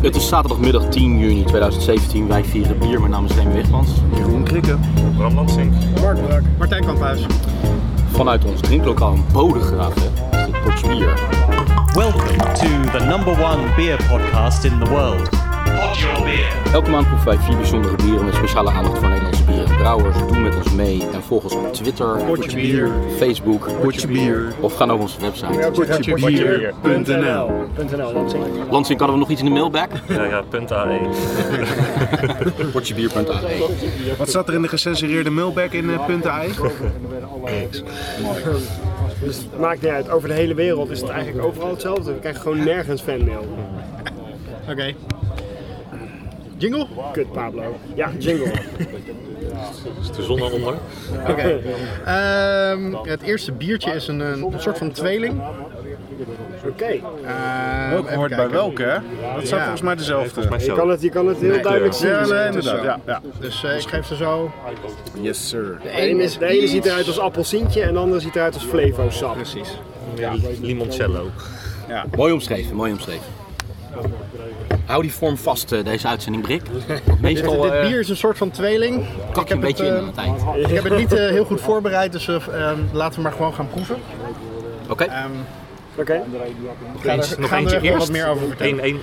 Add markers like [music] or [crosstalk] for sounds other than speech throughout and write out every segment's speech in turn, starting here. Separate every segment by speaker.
Speaker 1: Het is zaterdagmiddag 10 juni 2017. Wij vieren bier. Mijn naam is Remy Wegmans.
Speaker 2: Jeroen Krikke.
Speaker 3: Bram Lansink.
Speaker 4: Bart Brak. Martijn Kamphuis.
Speaker 1: Vanuit ons drinklokaal in Bodegraaf, hè, is dit Pots Bier.
Speaker 5: Welcome to the number one beer podcast in the world. Pod your beer.
Speaker 1: Elke maand proeven wij vier bijzondere bieren met speciale aandacht voor Nederlandse bieren en brouwers. Doe met ons mee en volg ons op Twitter,
Speaker 4: Potje bier.
Speaker 1: Facebook
Speaker 2: Potje bier.
Speaker 1: of ga naar onze website.
Speaker 2: Potjebier.nl
Speaker 4: .nl, dat zeg ik.
Speaker 1: Lansing, hadden we nog iets in de mailbag?
Speaker 3: Ja, ja, punt
Speaker 1: [laughs]
Speaker 3: E. AE.
Speaker 1: Potjebier.ae
Speaker 2: Wat zat er in de gecensureerde mailbag in eh, punt .ai?
Speaker 4: Dus het maakt niet uit, over de hele wereld is het eigenlijk overal hetzelfde. We krijgen gewoon nergens fanmail. Oké. Jingle? Kut, Pablo. Ja, jingle.
Speaker 3: Is de zon al onder?
Speaker 6: Ehm, het eerste biertje is een, een, een soort van tweeling.
Speaker 4: Oké.
Speaker 6: Ehm,
Speaker 2: Ook
Speaker 6: even
Speaker 2: hoort bij
Speaker 6: kijken.
Speaker 2: welke, hè? Dat zat
Speaker 6: Ja.
Speaker 2: volgens mij dezelfde.
Speaker 3: Volgens
Speaker 4: Je
Speaker 3: mij
Speaker 4: kan
Speaker 3: zo.
Speaker 4: het, je kan het heel duidelijk zien.
Speaker 2: Ja, nee,
Speaker 4: De
Speaker 2: inderdaad. Ja, ja.
Speaker 6: Dus eh, ik geef ze zo.
Speaker 2: Yes, sir.
Speaker 4: ene, is- de ene ziet eruit als appelsientje en de andere ziet eruit als flevosap.
Speaker 6: Precies.
Speaker 3: Limoncello.
Speaker 1: Mooi omschreven, mooi omschreven. Hou die vorm vast, eh, deze uitzending, Brik. Want Meestal
Speaker 6: dit
Speaker 1: eh,
Speaker 6: bier is een soort van tweeling.
Speaker 1: kak je een beetje in
Speaker 6: het,
Speaker 1: aan het eind.
Speaker 6: eh, ik heb het niet eh, heel goed voorbereid, dus eh, ehm, laten we maar gewoon gaan proeven.
Speaker 1: Oké,
Speaker 6: Ehm
Speaker 4: Oké.
Speaker 6: ik ga
Speaker 3: Eens-
Speaker 6: er,
Speaker 3: nog
Speaker 6: ga er
Speaker 3: eentje
Speaker 6: echt wel
Speaker 3: eerst?
Speaker 6: wat meer over vertellen.
Speaker 3: Eén, één.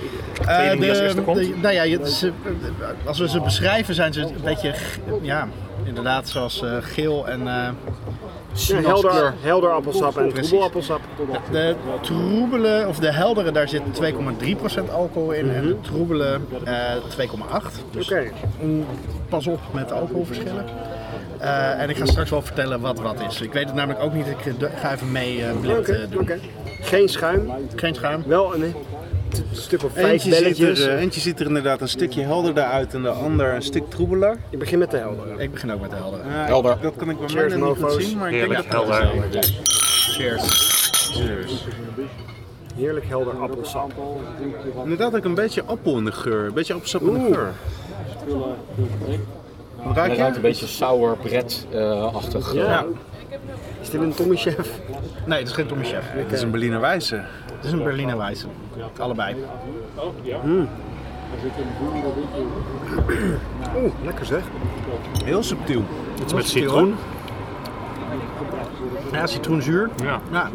Speaker 6: Eh,
Speaker 3: tweeling die als
Speaker 6: de-
Speaker 3: eerste komt.
Speaker 6: de- nou ja, je- ze- eh, als we ze beschrijven zijn ze een beetje, g- ja, inderdaad zoals eh, geel en eh,
Speaker 4: Ja,
Speaker 6: sinaasappelkleur.
Speaker 4: helder, helder appelsap en
Speaker 6: Precies.
Speaker 4: troebelappelsap.
Speaker 6: De troebele, of de heldere, daar zit 2,3% alcohol in en de
Speaker 3: Mhm.
Speaker 6: troebele eh, 2,8%. Dus
Speaker 4: Oké.
Speaker 6: mm, pas op met de alcoholverschillen. Eh, en ik ga straks wel vertellen wat wat is. Ik weet het namelijk ook niet, ik ga even mee eh blind
Speaker 4: Oké,
Speaker 6: eh, doen.
Speaker 4: oké. Geen schuim,
Speaker 6: Geen schuim.
Speaker 4: wel een t- stuk of vijf
Speaker 2: Eentje ziet, er,
Speaker 4: belletjes.
Speaker 2: eh, eentje ziet er inderdaad een stukje helderder uit en de ander een stuk troebeler.
Speaker 4: Je begint met de heldere.
Speaker 6: Ik begin ook met de heldere.
Speaker 2: Eh,
Speaker 1: Helder.
Speaker 2: Dat kan ik bij mij
Speaker 4: Cheers,
Speaker 2: nog niet goed
Speaker 4: mofo's.
Speaker 2: zien, maar ik denk
Speaker 3: Heerlijk
Speaker 2: dat dat
Speaker 3: helder.
Speaker 2: is.
Speaker 6: Cheers.
Speaker 2: Cheers.
Speaker 4: Heerlijk helder appelsap.
Speaker 2: Inderdaad ook een beetje appel in de geur. Een beetje appelsap in de
Speaker 4: Oeh.
Speaker 2: geur. Wat Ruik
Speaker 1: Het ruikt een
Speaker 2: je?
Speaker 1: beetje sour, eh, bret-achtig.
Speaker 4: Ja. Is dit een Tommy Chef?
Speaker 6: Nee, het is geen Tommy Chef.
Speaker 2: Het is een Berliner Wijze.
Speaker 6: Het is een Berliner Weisse. Allebei.
Speaker 4: Oeh, lekker zeg.
Speaker 2: Heel subtiel.
Speaker 3: Het is met citroen.
Speaker 6: Ja, citroenzuur.
Speaker 3: Ja.
Speaker 6: Ja.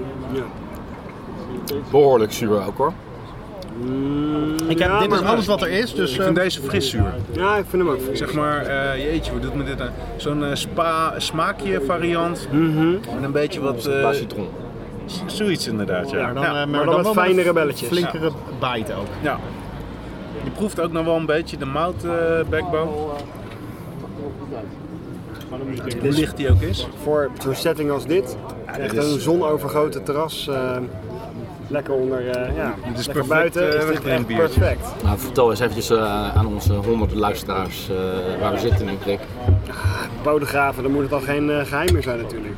Speaker 1: Behoorlijk zuur ook hoor.
Speaker 6: Ik heb,
Speaker 4: Ja,
Speaker 6: dit is
Speaker 4: maar-
Speaker 6: alles wat er is, dus...
Speaker 2: Ik vind
Speaker 6: eh,
Speaker 2: deze fris zuur.
Speaker 4: Ja, ik vind hem ook fris.
Speaker 2: Zeg maar, eh, jeetje, wat doet me dit aan? Zo'n eh, spa smaakje variant.
Speaker 6: Mhm.
Speaker 2: En een beetje wat... eh,
Speaker 1: Qua citroen.
Speaker 2: zoiets inderdaad, ja.
Speaker 6: maar dan,
Speaker 2: Ja.
Speaker 6: eh, maar
Speaker 4: dan
Speaker 6: dan
Speaker 4: met
Speaker 6: wel met
Speaker 4: fijnere
Speaker 6: een
Speaker 4: belletjes.
Speaker 6: Flinkere bite ook.
Speaker 2: Ja. Je proeft ook nog wel een beetje de mout eh, backbone. Hoe licht die ook is.
Speaker 4: Voor zo'n setting als dit, echt
Speaker 2: dit is-
Speaker 4: een zonovergoten terras, eh, lekker onder, eh, ja,
Speaker 2: Dit is
Speaker 4: lekker
Speaker 2: perfect,
Speaker 4: buiten,
Speaker 2: eh,
Speaker 4: is dit echt
Speaker 2: wegdrinkbier.
Speaker 4: perfect.
Speaker 1: Nou, vertel eens eventjes eh, aan onze honderden luisteraars eh, waar we zitten in Brik.
Speaker 4: Bodegraven, dan moet het al geen eh, geheim meer zijn natuurlijk.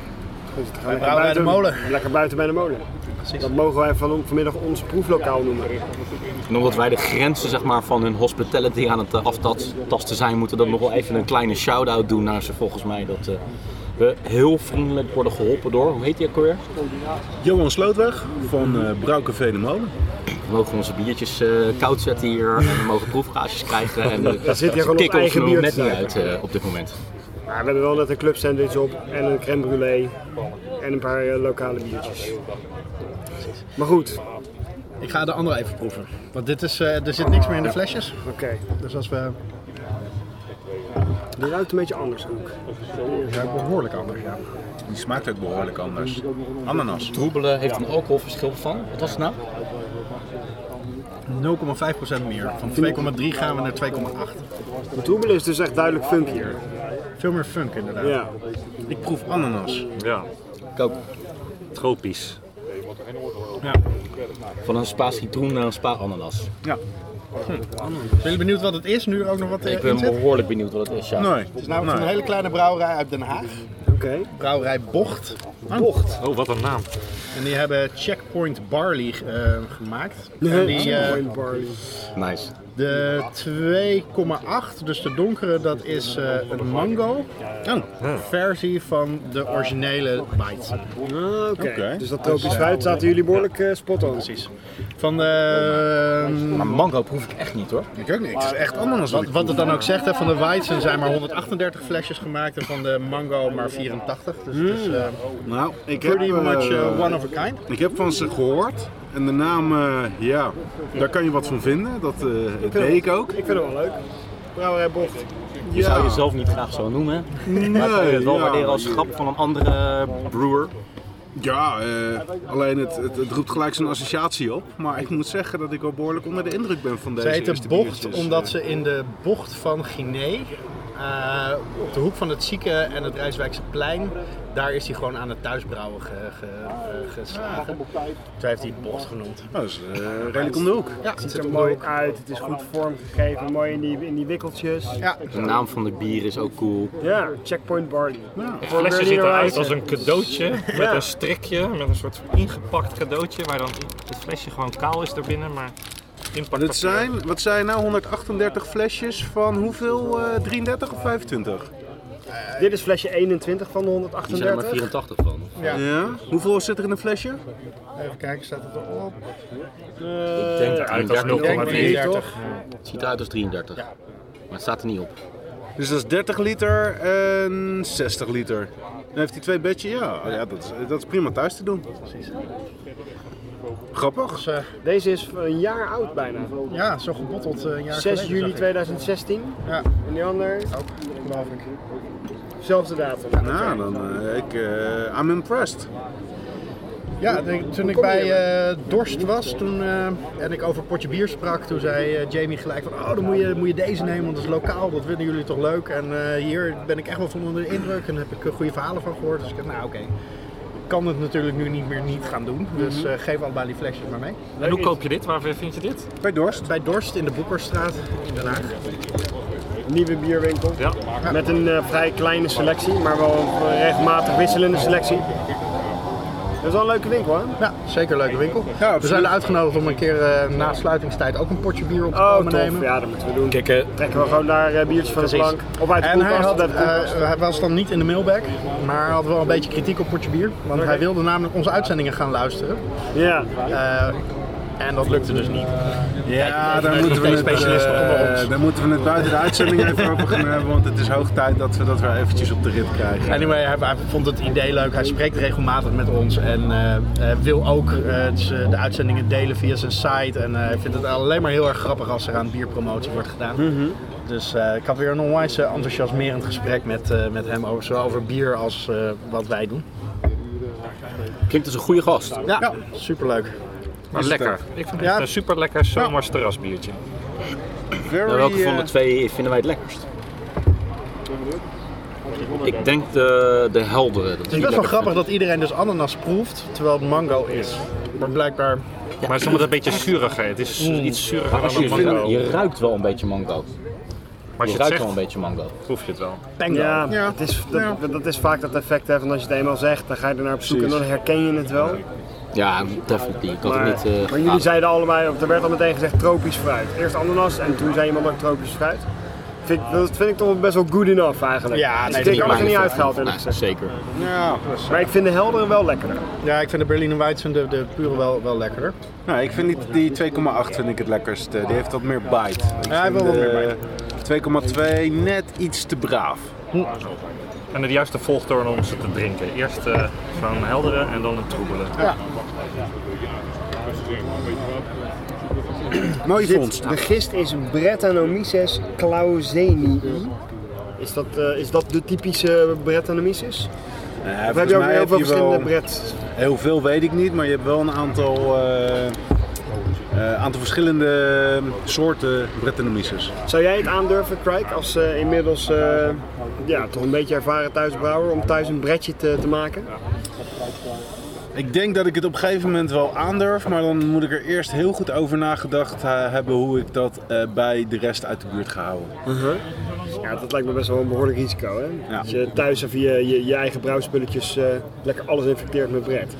Speaker 4: Dus het gaat lekker
Speaker 6: brouwen bij de molen.
Speaker 4: Lekker buiten bij de molen. Dat mogen wij van, vanmiddag ons proeflokaal noemen.
Speaker 1: En omdat wij de grenzen zeg maar, van hun hospitality aan het eh, aftasten zijn, moeten we dan nog wel even een kleine shout-out doen naar ze volgens mij. Dat eh, we heel vriendelijk worden geholpen door, hoe heet die ook alweer?
Speaker 2: Johan Slootweg van eh Brouwcafé de Molen.
Speaker 1: We mogen onze biertjes eh, koud zetten hier en we mogen proefgaasjes krijgen.
Speaker 4: [laughs]
Speaker 1: En we
Speaker 4: zit hier gewoon ons
Speaker 1: kicken ons
Speaker 4: eigen
Speaker 1: er
Speaker 4: bier
Speaker 1: net
Speaker 4: te
Speaker 1: niet uit
Speaker 4: zuipen.
Speaker 1: eh, op dit moment.
Speaker 4: Maar we hebben wel net een club sandwich op en een crème brûlée en een paar eh, lokale biertjes. Maar goed,
Speaker 6: Ik ga de andere even proeven. Want dit is, eh, er zit niks meer in de flesjes.
Speaker 4: oké.
Speaker 6: Dus als we...
Speaker 4: Dit ruikt een beetje anders ook.
Speaker 6: Ja, behoorlijk anders, ja.
Speaker 2: Die smaakt ook behoorlijk anders. Ananas.
Speaker 1: Troebelen heeft een alcoholverschil van, wat was het nou?
Speaker 6: 0,5% meer. Van 2,3 gaan we naar 2,8.
Speaker 4: De troebel is dus echt duidelijk funkier.
Speaker 6: Veel meer funk inderdaad.
Speaker 4: Ja.
Speaker 2: Ik proef ananas.
Speaker 3: Ja.
Speaker 1: Kook.
Speaker 3: Tropisch.
Speaker 1: Van een spa citroen naar een spa ananas.
Speaker 6: Zijn jullie benieuwd wat het is? Nu er ook nog wat eh,
Speaker 1: Ik
Speaker 6: in
Speaker 1: ben
Speaker 6: zit?
Speaker 1: behoorlijk benieuwd wat het is. Ja.
Speaker 2: Nee.
Speaker 6: Het is namelijk van een hele kleine brouwerij uit Den Haag.
Speaker 4: Oké.
Speaker 6: Brouwerij Bocht.
Speaker 4: Bocht.
Speaker 3: Oh, wat een naam.
Speaker 6: En die hebben Checkpoint Barley eh, gemaakt. En die, eh,
Speaker 4: Barley.
Speaker 1: Nice.
Speaker 6: De 2,8, dus de donkere, dat is eh, een mango. Versie van de originele bite.
Speaker 4: Ah, oké.
Speaker 6: Oké.
Speaker 4: Dus dat tropisch fruit zaten jullie behoorlijk eh, spot on. Precies.
Speaker 6: Van eh, de...
Speaker 1: Maar mango proef ik echt niet hoor.
Speaker 6: Ik ook niet. Het is echt ananas. Wat, wat het dan ook zegt, hè, van de Weizen zijn maar 138 flesjes gemaakt en van de mango maar 84. Dus het is eh,
Speaker 2: Nou, ik heb,
Speaker 6: pretty much
Speaker 2: eh,
Speaker 6: eh, one of a kind.
Speaker 2: ik heb van ze gehoord. En de naam, eh, ja, daar kan je wat van vinden. Dat eh, deed ik ook.
Speaker 4: Ik vind het wel leuk. Brouwerij Bocht.
Speaker 1: Je zou jezelf niet graag zo noemen. hè? Maar ik kan je het wel
Speaker 2: ja.
Speaker 1: waarderen als grap van een andere brewer.
Speaker 2: Ja, eh, alleen het, het, het roept gelijk zo'n associatie op. Maar ik moet zeggen dat ik wel behoorlijk onder de indruk ben van
Speaker 6: Ze
Speaker 2: deze
Speaker 6: heet de
Speaker 2: eerste
Speaker 6: bocht
Speaker 2: biertjes. eh.
Speaker 6: omdat ze in de bocht van Guinea, eh, op de hoek van het Zieke en het Rijswijkse plein, daar is hij gewoon aan het thuisbrouwen ge- ge- eh, geslagen. Toen heeft hij het bocht genoemd.
Speaker 2: Ja, dat is eh, redelijk om de hoek.
Speaker 6: Ja,
Speaker 4: Het
Speaker 6: het zit
Speaker 4: ziet
Speaker 6: op
Speaker 4: er
Speaker 6: de
Speaker 4: mooi
Speaker 6: hoek.
Speaker 4: uit. Het is goed vormgegeven. Mooi in die, in die wikkeltjes. Ja.
Speaker 1: De naam van de bier is ook cool.
Speaker 4: Checkpoint Barley. Ja.
Speaker 3: Het flesje ziet eruit als een cadeautje met een strikje, met een soort ingepakt cadeautje, waar dan het flesje gewoon kaal is daarbinnen, maar inpakt
Speaker 2: Dit zijn, wat zijn nou 138 flesjes van hoeveel? eh, 33 of 25?
Speaker 4: Dit is flesje 21 van de
Speaker 1: Er zijn er maar 84
Speaker 4: 138.
Speaker 1: van.
Speaker 2: Ja. Hoeveel zit er in een flesje?
Speaker 6: Even kijken, staat het erop?
Speaker 1: Ik denk dat
Speaker 3: uit als
Speaker 1: 33.
Speaker 6: 33.
Speaker 1: Het ziet eruit als 33. Maar het staat er niet op.
Speaker 2: Dus dat is 30 liter en 60 liter. Dan heeft hij twee bedjes. Ja, Oh ja dat, is, dat is prima thuis te doen. Grappig.
Speaker 4: Deze is een jaar oud bijna.
Speaker 6: Ja, zo gebotteld eh, een jaar
Speaker 4: 6
Speaker 6: geleden,
Speaker 4: juli
Speaker 6: zag ik.
Speaker 4: 2016.
Speaker 6: Ja,
Speaker 4: En die ander,
Speaker 6: ook, geloof ik.
Speaker 4: zelfde datum.
Speaker 2: Nou, dan eh, ik, eh, I'm impressed.
Speaker 6: Ja, de- toen ik
Speaker 4: kom je
Speaker 6: bij eh, Dorst was toen, eh, en ik over een potje bier sprak, toen zei eh, Jamie gelijk van, oh dan moet je, moet je deze nemen, want dat is lokaal, dat vinden jullie toch leuk. En eh, hier ben ik echt wel van onder de indruk en heb ik eh, goede verhalen van gehoord. Dus ik dacht, nou oké, ik kan het natuurlijk nu niet meer niet gaan doen, dus eh, geef allebei die flesjes maar mee.
Speaker 3: En hoe koop je dit? Waar vind je dit?
Speaker 2: Bij Dorst.
Speaker 6: Bij Dorst in de Boekerstraat in Den Haag.
Speaker 4: Nieuwe bierwinkel.
Speaker 3: Ja.
Speaker 4: Met een eh, vrij kleine selectie, maar wel een regelmatig wisselende selectie. Dat is wel een leuke winkel, hè?
Speaker 6: Ja, zeker een leuke winkel. We zijn uitgenodigd om een keer eh, na sluitingstijd ook een potje bier op te komen nemen.
Speaker 4: Oh, Ja, dat moeten we doen.
Speaker 1: Kijk, eh,
Speaker 4: Trekken we gewoon daar eh, biertjes van
Speaker 6: Precies.
Speaker 4: de plank. Of uit de
Speaker 6: En hij,
Speaker 4: koelkast.
Speaker 6: had,
Speaker 4: of uit de koelkast.
Speaker 6: eh, hij was dan niet in de mailbag, maar hij had wel een beetje kritiek op Potje Bier. Want hij wilde namelijk onze uitzendingen gaan luisteren.
Speaker 4: ja.
Speaker 6: Eh, en dat lukte dus niet.
Speaker 2: Ja,
Speaker 6: Kijk,
Speaker 2: daar
Speaker 6: even
Speaker 2: moeten, we
Speaker 6: de
Speaker 2: het,
Speaker 6: specialisten onder
Speaker 2: eh,
Speaker 6: ons.
Speaker 2: daar moeten we het buiten de
Speaker 6: [laughs]
Speaker 2: uitzending even over gaan hebben. Want het is hoog tijd dat we dat weer eventjes op de rit krijgen.
Speaker 6: Anyway, hij, hij vond het idee leuk. Hij spreekt regelmatig met ons en eh, eh, wil ook eh, z- de uitzendingen delen via zijn site. En eh, hij vindt het alleen maar heel erg grappig als er aan bierpromotie wordt gedaan.
Speaker 4: Mhm.
Speaker 6: Dus eh, ik had weer een onwijs eh, enthousiasmerend gesprek met, eh, met hem over, zowel over bier als eh, wat wij doen.
Speaker 1: klinkt als een goede gast.
Speaker 6: Ja, superleuk.
Speaker 3: Maar Nou, lekker. Ik
Speaker 1: eh,
Speaker 3: vind het
Speaker 6: Ja.
Speaker 3: echt een super lekker zomers terrasbiertje.
Speaker 2: Very,
Speaker 1: Nou, welke
Speaker 2: eh,
Speaker 1: van de twee vinden wij het lekkerst? Ik denk de, de heldere. Dat
Speaker 6: Het is best wel grappig dat iedereen dus ananas proeft, terwijl het mango is. Maar blijkbaar...
Speaker 3: Maar het is omdat een beetje zuuriger. Het is iets zuuriger dan een
Speaker 1: Mm. Je,
Speaker 3: mango.
Speaker 1: je ruikt wel een beetje mango.
Speaker 3: Maar als
Speaker 1: Je
Speaker 3: je het
Speaker 1: ruikt wel een
Speaker 3: zegt,
Speaker 1: beetje mango.
Speaker 3: proef je het wel.
Speaker 6: Pango.
Speaker 4: Ja, Het is, dat, dat is vaak dat effect hè, van als je het eenmaal zegt, dan ga je er naar op zoek en dan herken je het wel.
Speaker 1: Ja, definitely. Ik had
Speaker 4: Maar,
Speaker 1: het niet... eh,
Speaker 4: maar jullie
Speaker 1: ah,
Speaker 4: zeiden allebei, of er werd al meteen gezegd tropisch fruit. Eerst ananas en toen zei iemand ook tropisch fruit. Vind, ik- dat vind ik toch best wel good enough eigenlijk.
Speaker 6: Ja,
Speaker 4: dus
Speaker 6: nee,
Speaker 4: ik denk alles
Speaker 6: dat maakt
Speaker 4: er niet
Speaker 1: niet
Speaker 4: uitgehaald eerlijk
Speaker 1: nee,
Speaker 4: gezegd.
Speaker 1: zeker.
Speaker 4: Maar ik vind de heldere wel lekkerder.
Speaker 6: Ja, ik vind de Berliner Weizen, de, de pure, wel, wel lekkerder.
Speaker 2: Nou, ik vind die, die 2,8 vind ik het lekkerst. Eh, Die heeft wat meer bite. Ik
Speaker 6: hij wil
Speaker 2: vind,
Speaker 6: wat meer
Speaker 2: eh, 2,2 net iets te braaf.
Speaker 3: En de juiste volgorde om ze te drinken. Eerst eh van een heldere en dan een troebele.
Speaker 2: Mooi vondst.
Speaker 4: Dit, de gist is Brettanomyces clausenii. Is dat, eh, is dat de typische Brettanomyces?
Speaker 2: Eh,
Speaker 4: Of heb je ook
Speaker 2: volgens mij
Speaker 4: heel veel
Speaker 2: heb je wel-
Speaker 4: verschillende Bret?
Speaker 2: Heel veel weet ik niet, maar je hebt wel een aantal, eh, eh, aantal verschillende soorten Brettanomyces.
Speaker 4: Zou jij het aandurven, Craig, als eh, inmiddels eh, ja, toch een beetje ervaren thuisbrouwer, om thuis een bretje te, te maken?
Speaker 2: Ik denk dat ik het op een gegeven moment wel aandurf, maar dan moet ik er eerst heel goed over nagedacht eh, hebben hoe ik dat eh, bij de rest uit de buurt ga houden.
Speaker 4: Ja, dat lijkt me best wel een behoorlijk risico. Hè?
Speaker 2: Ja.
Speaker 4: Dat je thuis of je, je, je eigen brouwspulletjes eh, lekker alles infecteert met Bret.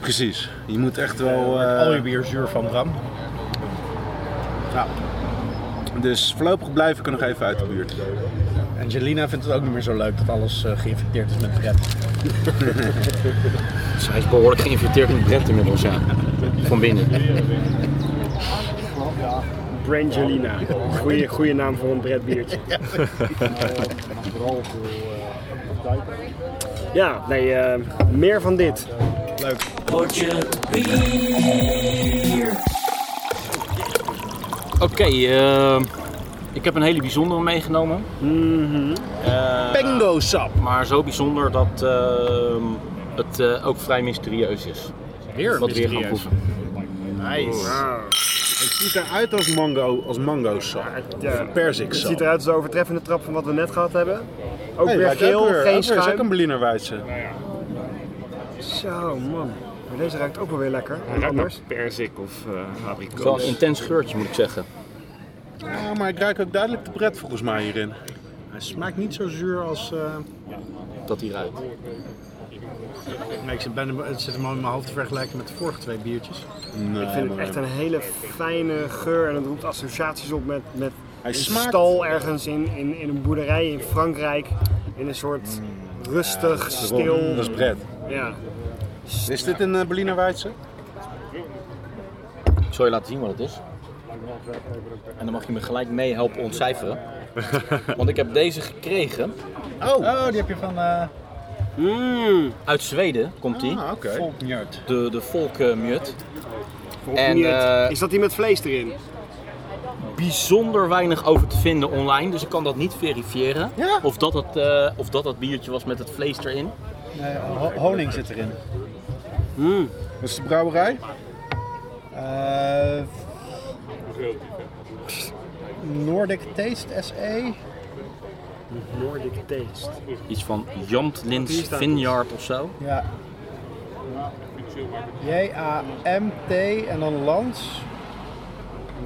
Speaker 2: Precies. Je moet echt wel.
Speaker 6: Al
Speaker 2: eh,
Speaker 6: je bier zuur van Bram.
Speaker 2: Nou, dus voorlopig blijf ik er nog even uit de buurt.
Speaker 6: Angelina vindt het ook niet meer zo leuk dat alles eh, geïnfecteerd is met pret.
Speaker 1: Zij is behoorlijk geïnfecteerd met Brent inmiddels, ja. Van binnen.
Speaker 4: Brangelina. Goeie, goeie naam voor een bredbiertje. [laughs] Ja, nee, eh, meer van dit.
Speaker 1: Oké, eh, ik heb een hele bijzondere meegenomen. Eh,
Speaker 6: Pengo Mhm. sap.
Speaker 1: maar zo bijzonder dat eh, het eh, ook vrij mysterieus is.
Speaker 6: Weer
Speaker 1: Wat we hier gaan
Speaker 6: mysterieus.
Speaker 1: proeven.
Speaker 6: Nice.
Speaker 2: Het ziet eruit als mango, als mango sap.
Speaker 4: Het, eh, het
Speaker 2: Perziksap.
Speaker 4: ziet eruit als de overtreffende trap van wat we net gehad hebben. Ook
Speaker 2: Hey,
Speaker 4: weer
Speaker 2: ruikt ook
Speaker 4: geel,
Speaker 2: weer-
Speaker 4: geen
Speaker 2: ook weer- is ook een
Speaker 4: schuim.
Speaker 2: Berliner Weisse.
Speaker 4: Zo, man. Maar deze ruikt ook wel weer lekker.
Speaker 3: Hij ruikt
Speaker 4: Anders.
Speaker 3: naar perzik of eh
Speaker 1: Het is wel
Speaker 3: abrikoos.
Speaker 1: een intens geurtje, moet ik zeggen.
Speaker 2: Ja, maar ik ruik ook duidelijk de pret volgens mij hierin.
Speaker 6: Hij smaakt niet zo zuur als... eh,
Speaker 1: Dat hier uit.
Speaker 6: Nee, ik zit, ben, het zit hem al in mijn hoofd te vergelijken met de vorige twee biertjes.
Speaker 4: Ik vind het echt een hele fijne geur en het roept associaties op met, met
Speaker 2: Hij
Speaker 4: een
Speaker 2: smaakt-
Speaker 4: stal ergens in, in, in een boerderij in Frankrijk. In een soort rustig,
Speaker 6: Oh,
Speaker 4: stil.
Speaker 2: Dat is pret.
Speaker 4: Ja.
Speaker 2: Is dit een eh, Berliner Weisse?
Speaker 1: Ik zal je laten zien wat het is. En dan mag je me gelijk mee helpen ontcijferen. Want ik heb deze gekregen.
Speaker 6: Oh, die heb je van eh
Speaker 1: Uit Zweden komt die.
Speaker 2: Ah, oké.
Speaker 6: Volknjord.
Speaker 1: De, de volkmut. En,
Speaker 4: En,
Speaker 1: eh,
Speaker 4: Is dat die met vlees erin?
Speaker 1: bijzonder weinig over te vinden online, dus ik kan dat niet verifiëren.
Speaker 6: Ja?
Speaker 1: Of, dat het, eh, of dat dat biertje was met het vlees erin.
Speaker 6: Nee, ho- honing zit erin.
Speaker 2: Dat is de brouwerij.
Speaker 6: Eh, Nordic Taste SE.
Speaker 4: Nordic Taste.
Speaker 1: Iets van Jamtlins Vineyard of zo.
Speaker 6: Ja. J-A-M-T en dan Lans.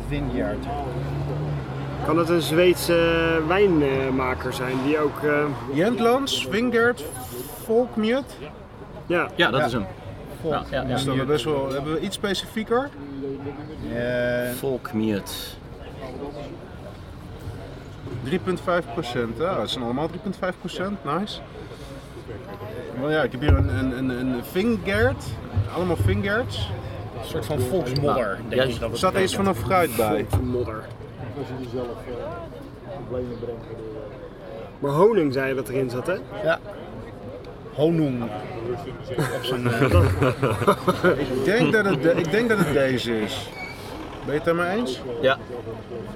Speaker 6: Vineyard.
Speaker 4: Kan het een Zweedse eh, wijnmaker zijn die ook... eh,
Speaker 2: Jentlands, Wingert, Volkmjut.
Speaker 4: ja,
Speaker 1: Ja, dat is hem. Ja, ja, ja.
Speaker 2: Dus dan hebben we best wel hebben we iets specifieker.
Speaker 6: Eh,
Speaker 1: Volkmut.
Speaker 2: 3,5 procent. Ja, dat zijn allemaal 3,5 procent. Nice. Wel ja, ik heb hier een, een, een, een Vingert. Allemaal Vingerts.
Speaker 6: een soort van volksmodder, denk
Speaker 1: ja,
Speaker 6: ik dat
Speaker 2: Er
Speaker 6: het
Speaker 2: zat eens
Speaker 6: betekent.
Speaker 2: vanaf fruit bij.
Speaker 4: modder. Maar honing zei je dat erin zat, hè?
Speaker 6: Ja. Honung.
Speaker 2: Ik denk dat het, de- ik denk dat het deze is. Ben je het daarmee eens?
Speaker 1: Ja.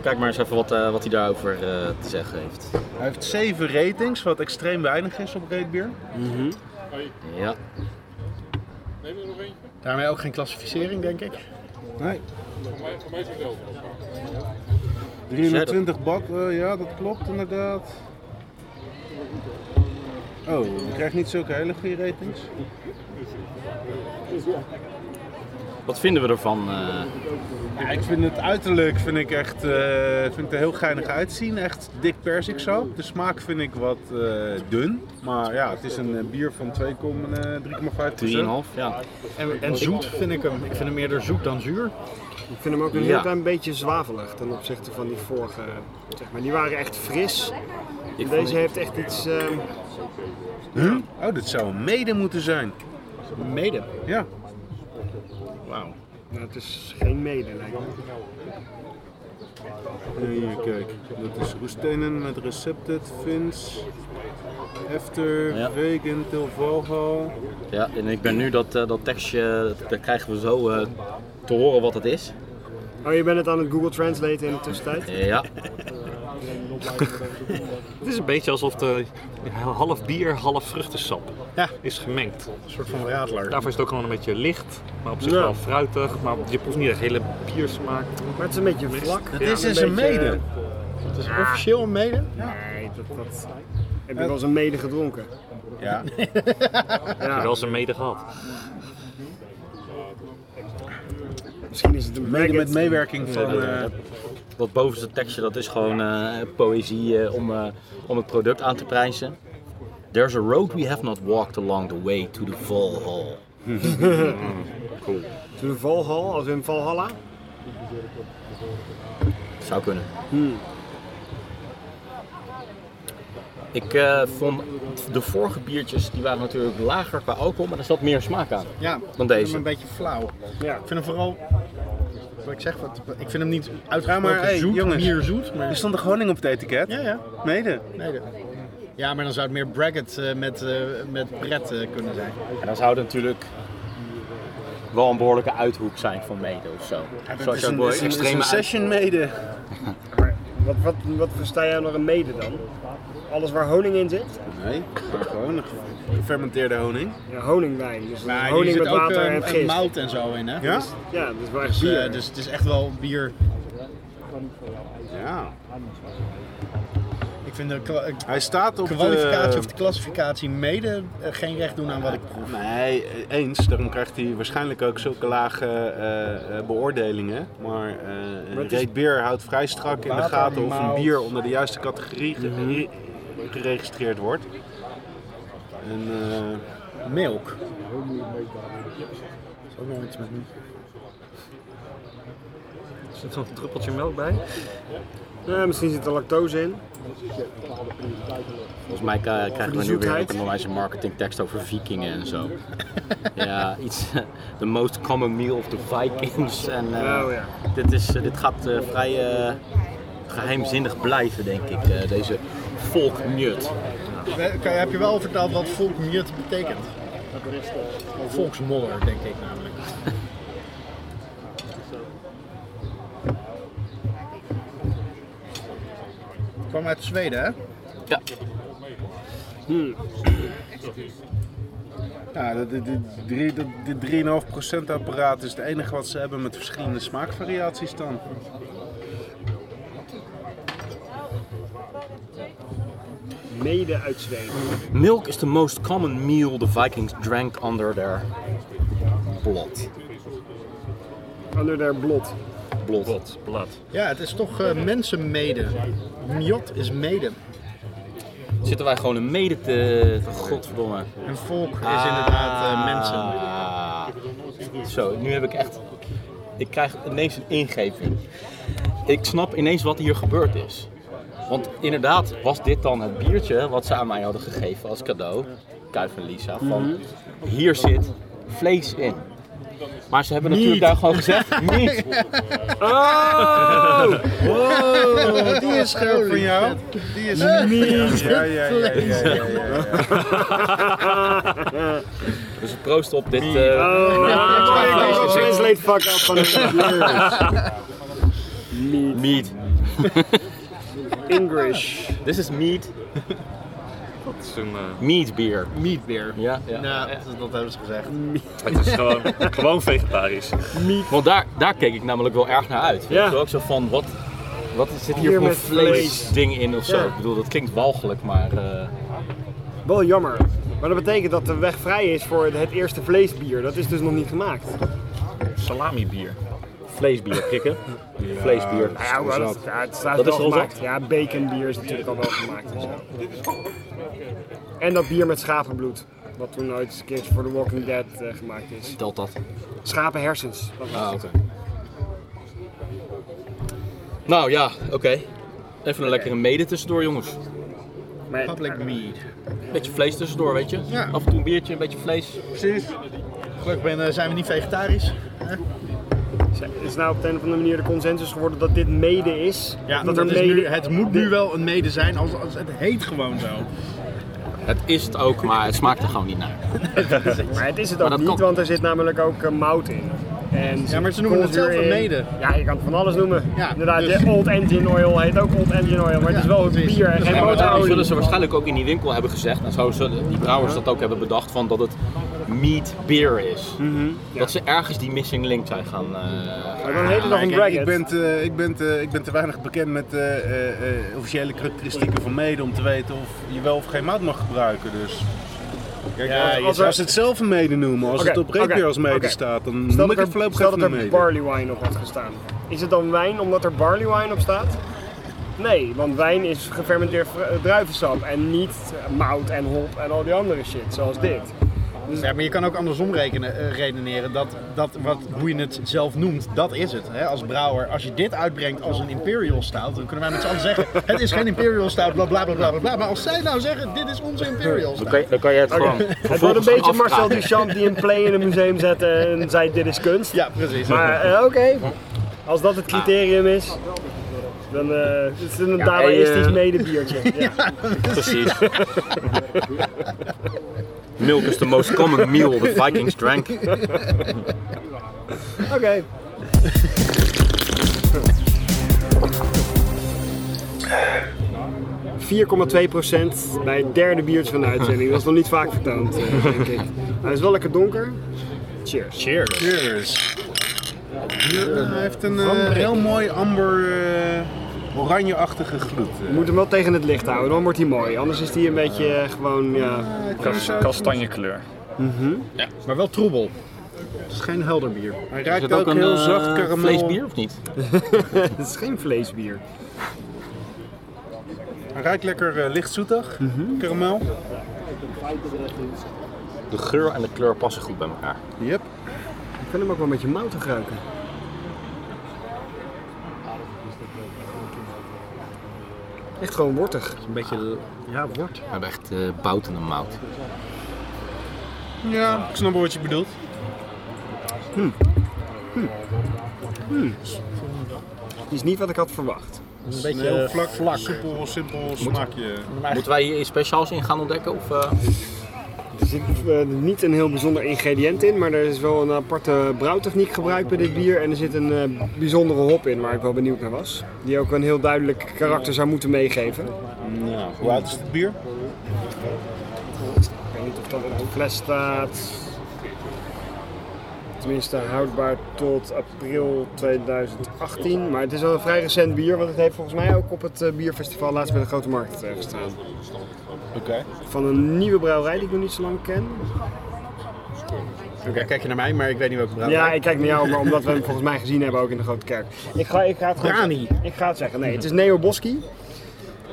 Speaker 1: Kijk maar eens even wat, eh, wat hij daarover eh, te zeggen heeft.
Speaker 2: Hij heeft 7 ratings, wat extreem weinig is op reetbier. Mhm.
Speaker 1: Ja.
Speaker 6: Daarmee ook geen klassificering, denk ik.
Speaker 2: Nee. 320 bak, eh, ja dat klopt inderdaad. Oh, je krijgt niet zulke hele goede ratings.
Speaker 1: Wat vinden we ervan? eh?
Speaker 2: Ja, ik vind het uiterlijk vind ik echt eh, vind ik er heel geinig uitzien. Echt dik persiksap. De smaak vind ik wat eh, dun. Maar ja, het is een eh, bier van eh, 2,3,5
Speaker 1: 3,5? Ja.
Speaker 6: En, en zoet vind ik hem. Ik vind hem eerder zoet dan zuur.
Speaker 4: Ik vind hem ook een
Speaker 1: Ja.
Speaker 4: heel klein beetje zwavelig ten opzichte van die vorige. Zeg maar. Die waren echt fris.
Speaker 1: Ik vond
Speaker 4: Deze heeft echt iets... ehm,
Speaker 2: Huh? Oh, dit zou een mede moeten zijn.
Speaker 6: Mede.
Speaker 2: Ja.
Speaker 6: Wauw.
Speaker 4: nou, het is geen mede, lijkt me.
Speaker 2: Hier, kijk. Dat is roestenen met recepted fins. After,
Speaker 1: Ja.
Speaker 2: vegan, tilvalhal.
Speaker 1: Ja, en ik ben nu dat, eh, dat tekstje, dat krijgen we zo eh, te horen wat het is.
Speaker 4: Oh, je bent het aan het Google Translate in de tussentijd?
Speaker 1: Ja.
Speaker 3: Het is een beetje alsof de half bier, half vruchtensap
Speaker 6: Ja.
Speaker 3: is gemengd.
Speaker 6: Een soort van radler.
Speaker 3: Daarvoor is het ook gewoon een beetje licht, maar op zich
Speaker 4: Ja.
Speaker 3: wel fruitig. Maar je proeft niet echt hele biersmaak.
Speaker 4: Maar het is een beetje vlak.
Speaker 2: Dat
Speaker 4: Ja,
Speaker 2: is dus een
Speaker 4: beetje,
Speaker 2: mede.
Speaker 6: Het is officieel een mede.
Speaker 4: eh, Nee, dat, dat... Heb je wel eens een mede gedronken?
Speaker 2: Ja.
Speaker 3: Ik heb
Speaker 4: Ja,
Speaker 3: wel eens een mede gehad.
Speaker 4: misschien is het een
Speaker 2: Mede
Speaker 4: braggot.
Speaker 2: met meewerking van... eh,
Speaker 1: Dat bovenste tekstje, dat is gewoon eh, poëzie eh, om, eh, om het product aan te prijzen. There's a road we have not walked along the way to the Valhall.
Speaker 4: De Valhall, als in Valhalla.
Speaker 1: Zou kunnen. Ik eh, vond de vorige biertjes, die waren natuurlijk lager qua alcohol, maar er zat meer smaak aan.
Speaker 6: Ja, ik vind
Speaker 1: deze.
Speaker 6: hem een beetje flauw.
Speaker 4: Ja.
Speaker 6: Ik vind hem vooral, wat ik zeg, wat, ik vind hem niet
Speaker 2: Ja,
Speaker 6: uitgesproken
Speaker 2: maar, hey,
Speaker 6: zoet,
Speaker 2: jongens.
Speaker 6: meer zoet.
Speaker 2: Er
Speaker 6: Maar,
Speaker 2: stond toch honing op het etiket?
Speaker 6: ja, ja.
Speaker 2: Mede.
Speaker 6: Nee, dat- ja, maar dan zou het meer bracket eh, met, eh, met pret eh, kunnen zijn.
Speaker 1: En dan zou het natuurlijk wel een behoorlijke uithoek zijn van mede of zo. Zoals je ook wel
Speaker 2: Het is een- het is een
Speaker 1: extreme uit-
Speaker 2: session mede.
Speaker 4: Maar wat, wat, wat versta jij nog een mede dan? Alles waar honing in zit?
Speaker 2: Nee, maar gewoon een gefermenteerde honing.
Speaker 4: Ja, honingwijn. Dus
Speaker 6: Maar hier
Speaker 4: honing
Speaker 6: zit
Speaker 4: met
Speaker 6: ook
Speaker 4: water
Speaker 6: eh,
Speaker 4: en
Speaker 6: een
Speaker 4: gist.
Speaker 6: mout en zo in, hè?
Speaker 2: Ja?
Speaker 6: Dus, eh,
Speaker 4: Ja, dat is waar echt bier.
Speaker 6: dus het is echt wel bier.
Speaker 2: Ja.
Speaker 6: Ik vind de kwa- eh,
Speaker 2: Hij staat op
Speaker 6: kwalificatie
Speaker 2: de...
Speaker 6: of de klassificatie mede eh, geen recht doen aan wat ik proef.
Speaker 2: Nee, eens. Daarom krijgt hij waarschijnlijk ook zulke lage eh, eh, beoordelingen. Maar eh, een
Speaker 4: het is-
Speaker 2: reet beer houdt vrij strak in de
Speaker 6: Water,
Speaker 2: gaten of een
Speaker 6: mout.
Speaker 2: bier onder de juiste categorie ge- re- geregistreerd wordt. En, eh,
Speaker 6: Milk. Is ook nog iets met
Speaker 3: Er zit nog een druppeltje melk bij.
Speaker 4: Ja, misschien zit er lactose in.
Speaker 1: Volgens mij ka- krijgen we nu weer
Speaker 4: zoetheid.
Speaker 1: ook een onwijs marketingtekst over vikingen en
Speaker 2: [laughs]
Speaker 1: zo. ja, iets. eh, The most common meal of the Vikings. En, eh,
Speaker 4: Oh ja.
Speaker 1: dit, is, eh, dit gaat eh, vrij eh, geheimzinnig blijven, denk ik. eh, deze volknut.
Speaker 6: Heb je wel verteld wat volkmjut betekent? Volksmodder, denk ik namelijk. Het kwam uit Zweden, hè?
Speaker 1: Ja,
Speaker 2: Nou, dat- dit- dit drie- dat- dit 3,5% apparaat is het enige wat ze hebben met verschillende smaakvariaties dan.
Speaker 4: Mede uit Zweden.
Speaker 1: Milk is the most common meal the Vikings drank under their blood.
Speaker 4: Under their blot.
Speaker 1: Blood.
Speaker 3: Blad, blad.
Speaker 6: Ja, het is toch eh, mensenmede. Mjot is mede.
Speaker 1: Zitten wij gewoon een mede te... Godverdomme.
Speaker 6: En volk is inderdaad eh, mensen.
Speaker 1: mensen. Ah. Zo, nu heb ik echt... Ik krijg ineens een ingeving. Ik snap ineens wat hier gebeurd is. Want inderdaad was dit dan het biertje wat ze aan mij hadden gegeven als cadeau. Kuif en Lisa. Van hier zit vlees in. Maar ze hebben natuurlijk daar gewoon gezegd, niet. Oh!
Speaker 2: Oh, die is scherp van jou. Die is niet. Ja, ja, ja, ja, ja, ja, ja.
Speaker 1: Dus proost op dit... eh,
Speaker 4: Oh, translate fuck up van de
Speaker 1: Meat.
Speaker 4: English.
Speaker 1: Dit is meat.
Speaker 3: Dat is een, eh,
Speaker 1: Meat beer.
Speaker 6: Meat beer.
Speaker 1: Ja, ja.
Speaker 6: Ja, dat, dat hebben ze gezegd.
Speaker 3: het is gewoon, gewoon vegetarisch.
Speaker 1: Want daar, daar keek ik namelijk wel erg naar uit.
Speaker 4: Ja.
Speaker 1: Ja. Ook zo van, wat, wat zit hier,
Speaker 4: Hier
Speaker 1: voor
Speaker 4: met vlees.
Speaker 1: vleesding in of zo?
Speaker 4: Ja.
Speaker 1: Ik bedoel, dat klinkt walgelijk, maar... eh,
Speaker 4: Wel jammer. Maar dat betekent dat de weg vrij is voor het eerste vleesbier. Dat is dus nog niet gemaakt.
Speaker 3: Salami bier.
Speaker 1: vleesbier [laughs] kikken. Vleesbier.
Speaker 4: Ja, maar dat, ja, het staat
Speaker 1: Dat
Speaker 4: wel
Speaker 1: is wel
Speaker 4: gemaakt. Ja, baconbier is natuurlijk al wel gemaakt en zo. En dat bier met schapenbloed. Wat toen ooit eens een keertje voor The Walking Dead eh, gemaakt is.
Speaker 1: Telt dat.
Speaker 4: Schapenhersens. Dat was
Speaker 1: Ah,
Speaker 4: het.
Speaker 1: oké. Nou ja, oké. Even een lekkere mede tussendoor, jongens.
Speaker 4: Maar-
Speaker 6: Public mead.
Speaker 1: Beetje vlees tussendoor, weet je?
Speaker 6: Ja.
Speaker 1: Af en toe een biertje, een beetje vlees.
Speaker 6: Precies. Gelukkig ben, eh, zijn we niet vegetarisch. hè?
Speaker 4: Is nou op de een of andere manier de consensus geworden dat dit mede is?
Speaker 6: Ja,
Speaker 4: dat
Speaker 6: dat
Speaker 4: er
Speaker 6: is nu, het moet nu wel een mede zijn, als, als het heet gewoon zo.
Speaker 1: Het is het ook, maar het smaakt er gewoon niet naar.
Speaker 4: Maar het is het
Speaker 1: Maar
Speaker 4: ook
Speaker 1: dat
Speaker 4: niet,
Speaker 1: kan.
Speaker 4: want er zit namelijk ook eh, mout in. En
Speaker 6: Ja, maar ze noemen het
Speaker 4: koolzuur
Speaker 6: zelf een
Speaker 4: in.
Speaker 6: mede.
Speaker 4: Ja, je kan het van alles noemen.
Speaker 6: Ja,
Speaker 4: Inderdaad,
Speaker 6: dus-
Speaker 4: de Old Engine Oil heet ook Old Engine Oil, maar
Speaker 6: Ja,
Speaker 4: het is wel het
Speaker 6: precies.
Speaker 4: bier en
Speaker 6: Dus
Speaker 4: geen
Speaker 6: ja, maar
Speaker 1: Maar daarom
Speaker 4: motorolie.
Speaker 1: zullen ze waarschijnlijk ook in die winkel hebben gezegd, en zo zullen die brouwers dat ook hebben bedacht, van dat het meat beer is. Dat ze ergens die missing link zijn gaan. eh,
Speaker 4: Maar dan heet het nog een
Speaker 2: Ah, Kijk, ik,
Speaker 4: bracket.
Speaker 2: ben te, ik, ben te, ik ben te weinig bekend met eh, eh, eh, officiële karakteristieken van mede om te weten of je wel of geen maat mag gebruiken. Dus. Kijk,
Speaker 6: Ja,
Speaker 2: als,
Speaker 6: je
Speaker 2: als,
Speaker 4: zou-
Speaker 2: ze het zelf een mede noemen, als
Speaker 4: Oké,
Speaker 2: het op reet
Speaker 4: oké,
Speaker 2: weer als mede
Speaker 4: oké.
Speaker 2: staat, dan
Speaker 4: Stel
Speaker 2: noem ik
Speaker 4: dat
Speaker 2: het
Speaker 4: er-
Speaker 2: voorlopig
Speaker 4: stel
Speaker 2: even een
Speaker 4: dat er
Speaker 2: mede.
Speaker 4: barley wine op had gestaan. Is het dan wijn omdat er barley wine op staat? Nee, want wijn is gefermenteerd vru- eh, druivensap en niet eh, mout en hop en al die andere shit, zoals dit.
Speaker 6: Ja, maar je kan ook andersom rekenen, eh, redeneren. Dat, dat wat, hoe je het zelf noemt, dat is het. Hè? Als brouwer, als je dit uitbrengt als een Imperial Stout, dan kunnen wij met z'n allen zeggen: het is geen Imperial Stout, bla bla bla bla bla, bla. Maar als zij nou zeggen: dit is onze Imperial
Speaker 1: Dan
Speaker 6: Stout.
Speaker 1: kan, je- dan kan je het gewoon
Speaker 4: Het wordt een
Speaker 1: vervolgens
Speaker 4: beetje
Speaker 1: gaan
Speaker 4: Marcel
Speaker 1: afkraken.
Speaker 4: Duchamp die een play in een museum zette en zei dit is kunst.
Speaker 6: Ja, precies.
Speaker 4: Maar eh, oké, als dat het criterium is, dan eh, is het een Dadaïstisch
Speaker 1: eh,
Speaker 6: [laughs]
Speaker 4: medebiertje. Ja.
Speaker 1: Precies. Milk is the most common meal the Vikings drank.
Speaker 4: Oké. ...4,2% bij het derde biertje van de uitzending. Dat is nog niet vaak vertoond, eh, denk ik. Hij is wel lekker donker. Cheers.
Speaker 6: Cheers.
Speaker 2: Cheers. Hij heeft een eh, heel mooi amber, eh oranje-achtige gloed. eh.
Speaker 4: Je moet hem wel tegen het licht houden, dan wordt hij mooi. Anders is hij een beetje eh, gewoon, ja...
Speaker 3: Kas- kastanjekleur.
Speaker 6: Mhm. Maar wel troebel. Het is geen helder bier.
Speaker 2: Hij
Speaker 1: Is
Speaker 2: ruikt
Speaker 1: het
Speaker 2: ook,
Speaker 1: ook een
Speaker 2: heel
Speaker 1: eh,
Speaker 2: zacht karamel.
Speaker 1: vleesbier of niet?
Speaker 4: [laughs] Het is geen vleesbier.
Speaker 2: Hij ruikt lekker eh, licht zoetig, karamel.
Speaker 1: De geur en de kleur passen goed bij elkaar.
Speaker 2: Yep.
Speaker 4: Ik vind hem ook wel een beetje moutig ruiken. Echt gewoon wortig.
Speaker 6: Een beetje, ja, wordt.
Speaker 1: We hebben echt eh bout in de mout.
Speaker 2: Ja, ik snap wel wat je bedoelt.
Speaker 4: Het is niet wat ik had verwacht.
Speaker 6: Een
Speaker 2: Een
Speaker 6: beetje
Speaker 2: heel vlak, vlak. Soepel, simpel smaakje.
Speaker 1: Moeten wij hier iets speciaals in gaan ontdekken? Of, eh?
Speaker 4: Er zit eh, niet een heel bijzonder ingrediënt in, maar er is wel een aparte brouwtechniek gebruikt bij dit bier. En er zit een eh, bijzondere hop in waar ik wel benieuwd naar was. Die ook een heel duidelijk karakter zou moeten meegeven.
Speaker 2: Nou, hoe oud is het bier?
Speaker 4: Ik weet niet of dat op de fles staat. Tenminste houdbaar tot april 2018. Maar het is wel een vrij recent bier, want het heeft volgens mij ook op het eh, bierfestival laatst bij de Grote Markt eh, gestaan.
Speaker 2: Oké.
Speaker 4: Van een nieuwe brouwerij die ik nog niet zo lang ken.
Speaker 6: Oké, kijk je naar mij, maar ik weet niet welke brouwerij.
Speaker 4: Ja, ik kijk naar jou, maar omdat we hem [laughs] volgens mij gezien hebben ook in de Grote Kerk. Ik ga, ik ga het gewoon
Speaker 6: Brani.
Speaker 4: Ik ga het zeggen. Nee, het is Neo Boski.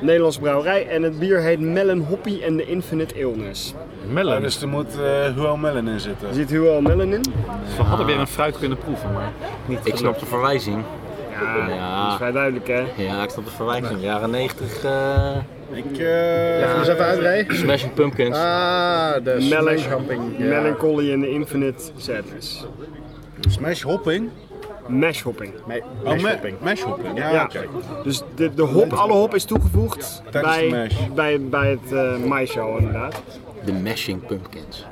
Speaker 4: Nederlandse brouwerij. En het bier heet Melon Hoppy and the Infinite Illness.
Speaker 2: Ja,
Speaker 3: Melon.
Speaker 2: dus er moet eh Huel Melon in zitten.
Speaker 4: Er zit heel wel melon in.
Speaker 3: We hadden weer een fruit kunnen proeven, maar niet
Speaker 1: Ik snap de verwijzing.
Speaker 4: Ja,
Speaker 1: Ja.
Speaker 4: dat is vrij duidelijk hè.
Speaker 1: Ja, ik snap de verwijzing. Jaren 90, eh,
Speaker 2: Ik, eh,
Speaker 6: Even eens even uitrijden.
Speaker 1: Smashing Pumpkins.
Speaker 6: Ah, de
Speaker 4: Melon-
Speaker 6: smash-hopping, ja.
Speaker 4: Melancholy and the Infinite Sadness.
Speaker 2: Smash hopping?
Speaker 4: Mash hopping.
Speaker 6: Me-
Speaker 2: Oh, ma-
Speaker 6: mash-hopping.
Speaker 2: mash hopping. Ja,
Speaker 4: Ja,
Speaker 2: oké.
Speaker 4: dus de, de hop, alle hop is toegevoegd
Speaker 2: Tijdens de
Speaker 4: bij,
Speaker 2: mash.
Speaker 4: bij, bij het eh maishow inderdaad.
Speaker 1: De Mashing Pumpkins.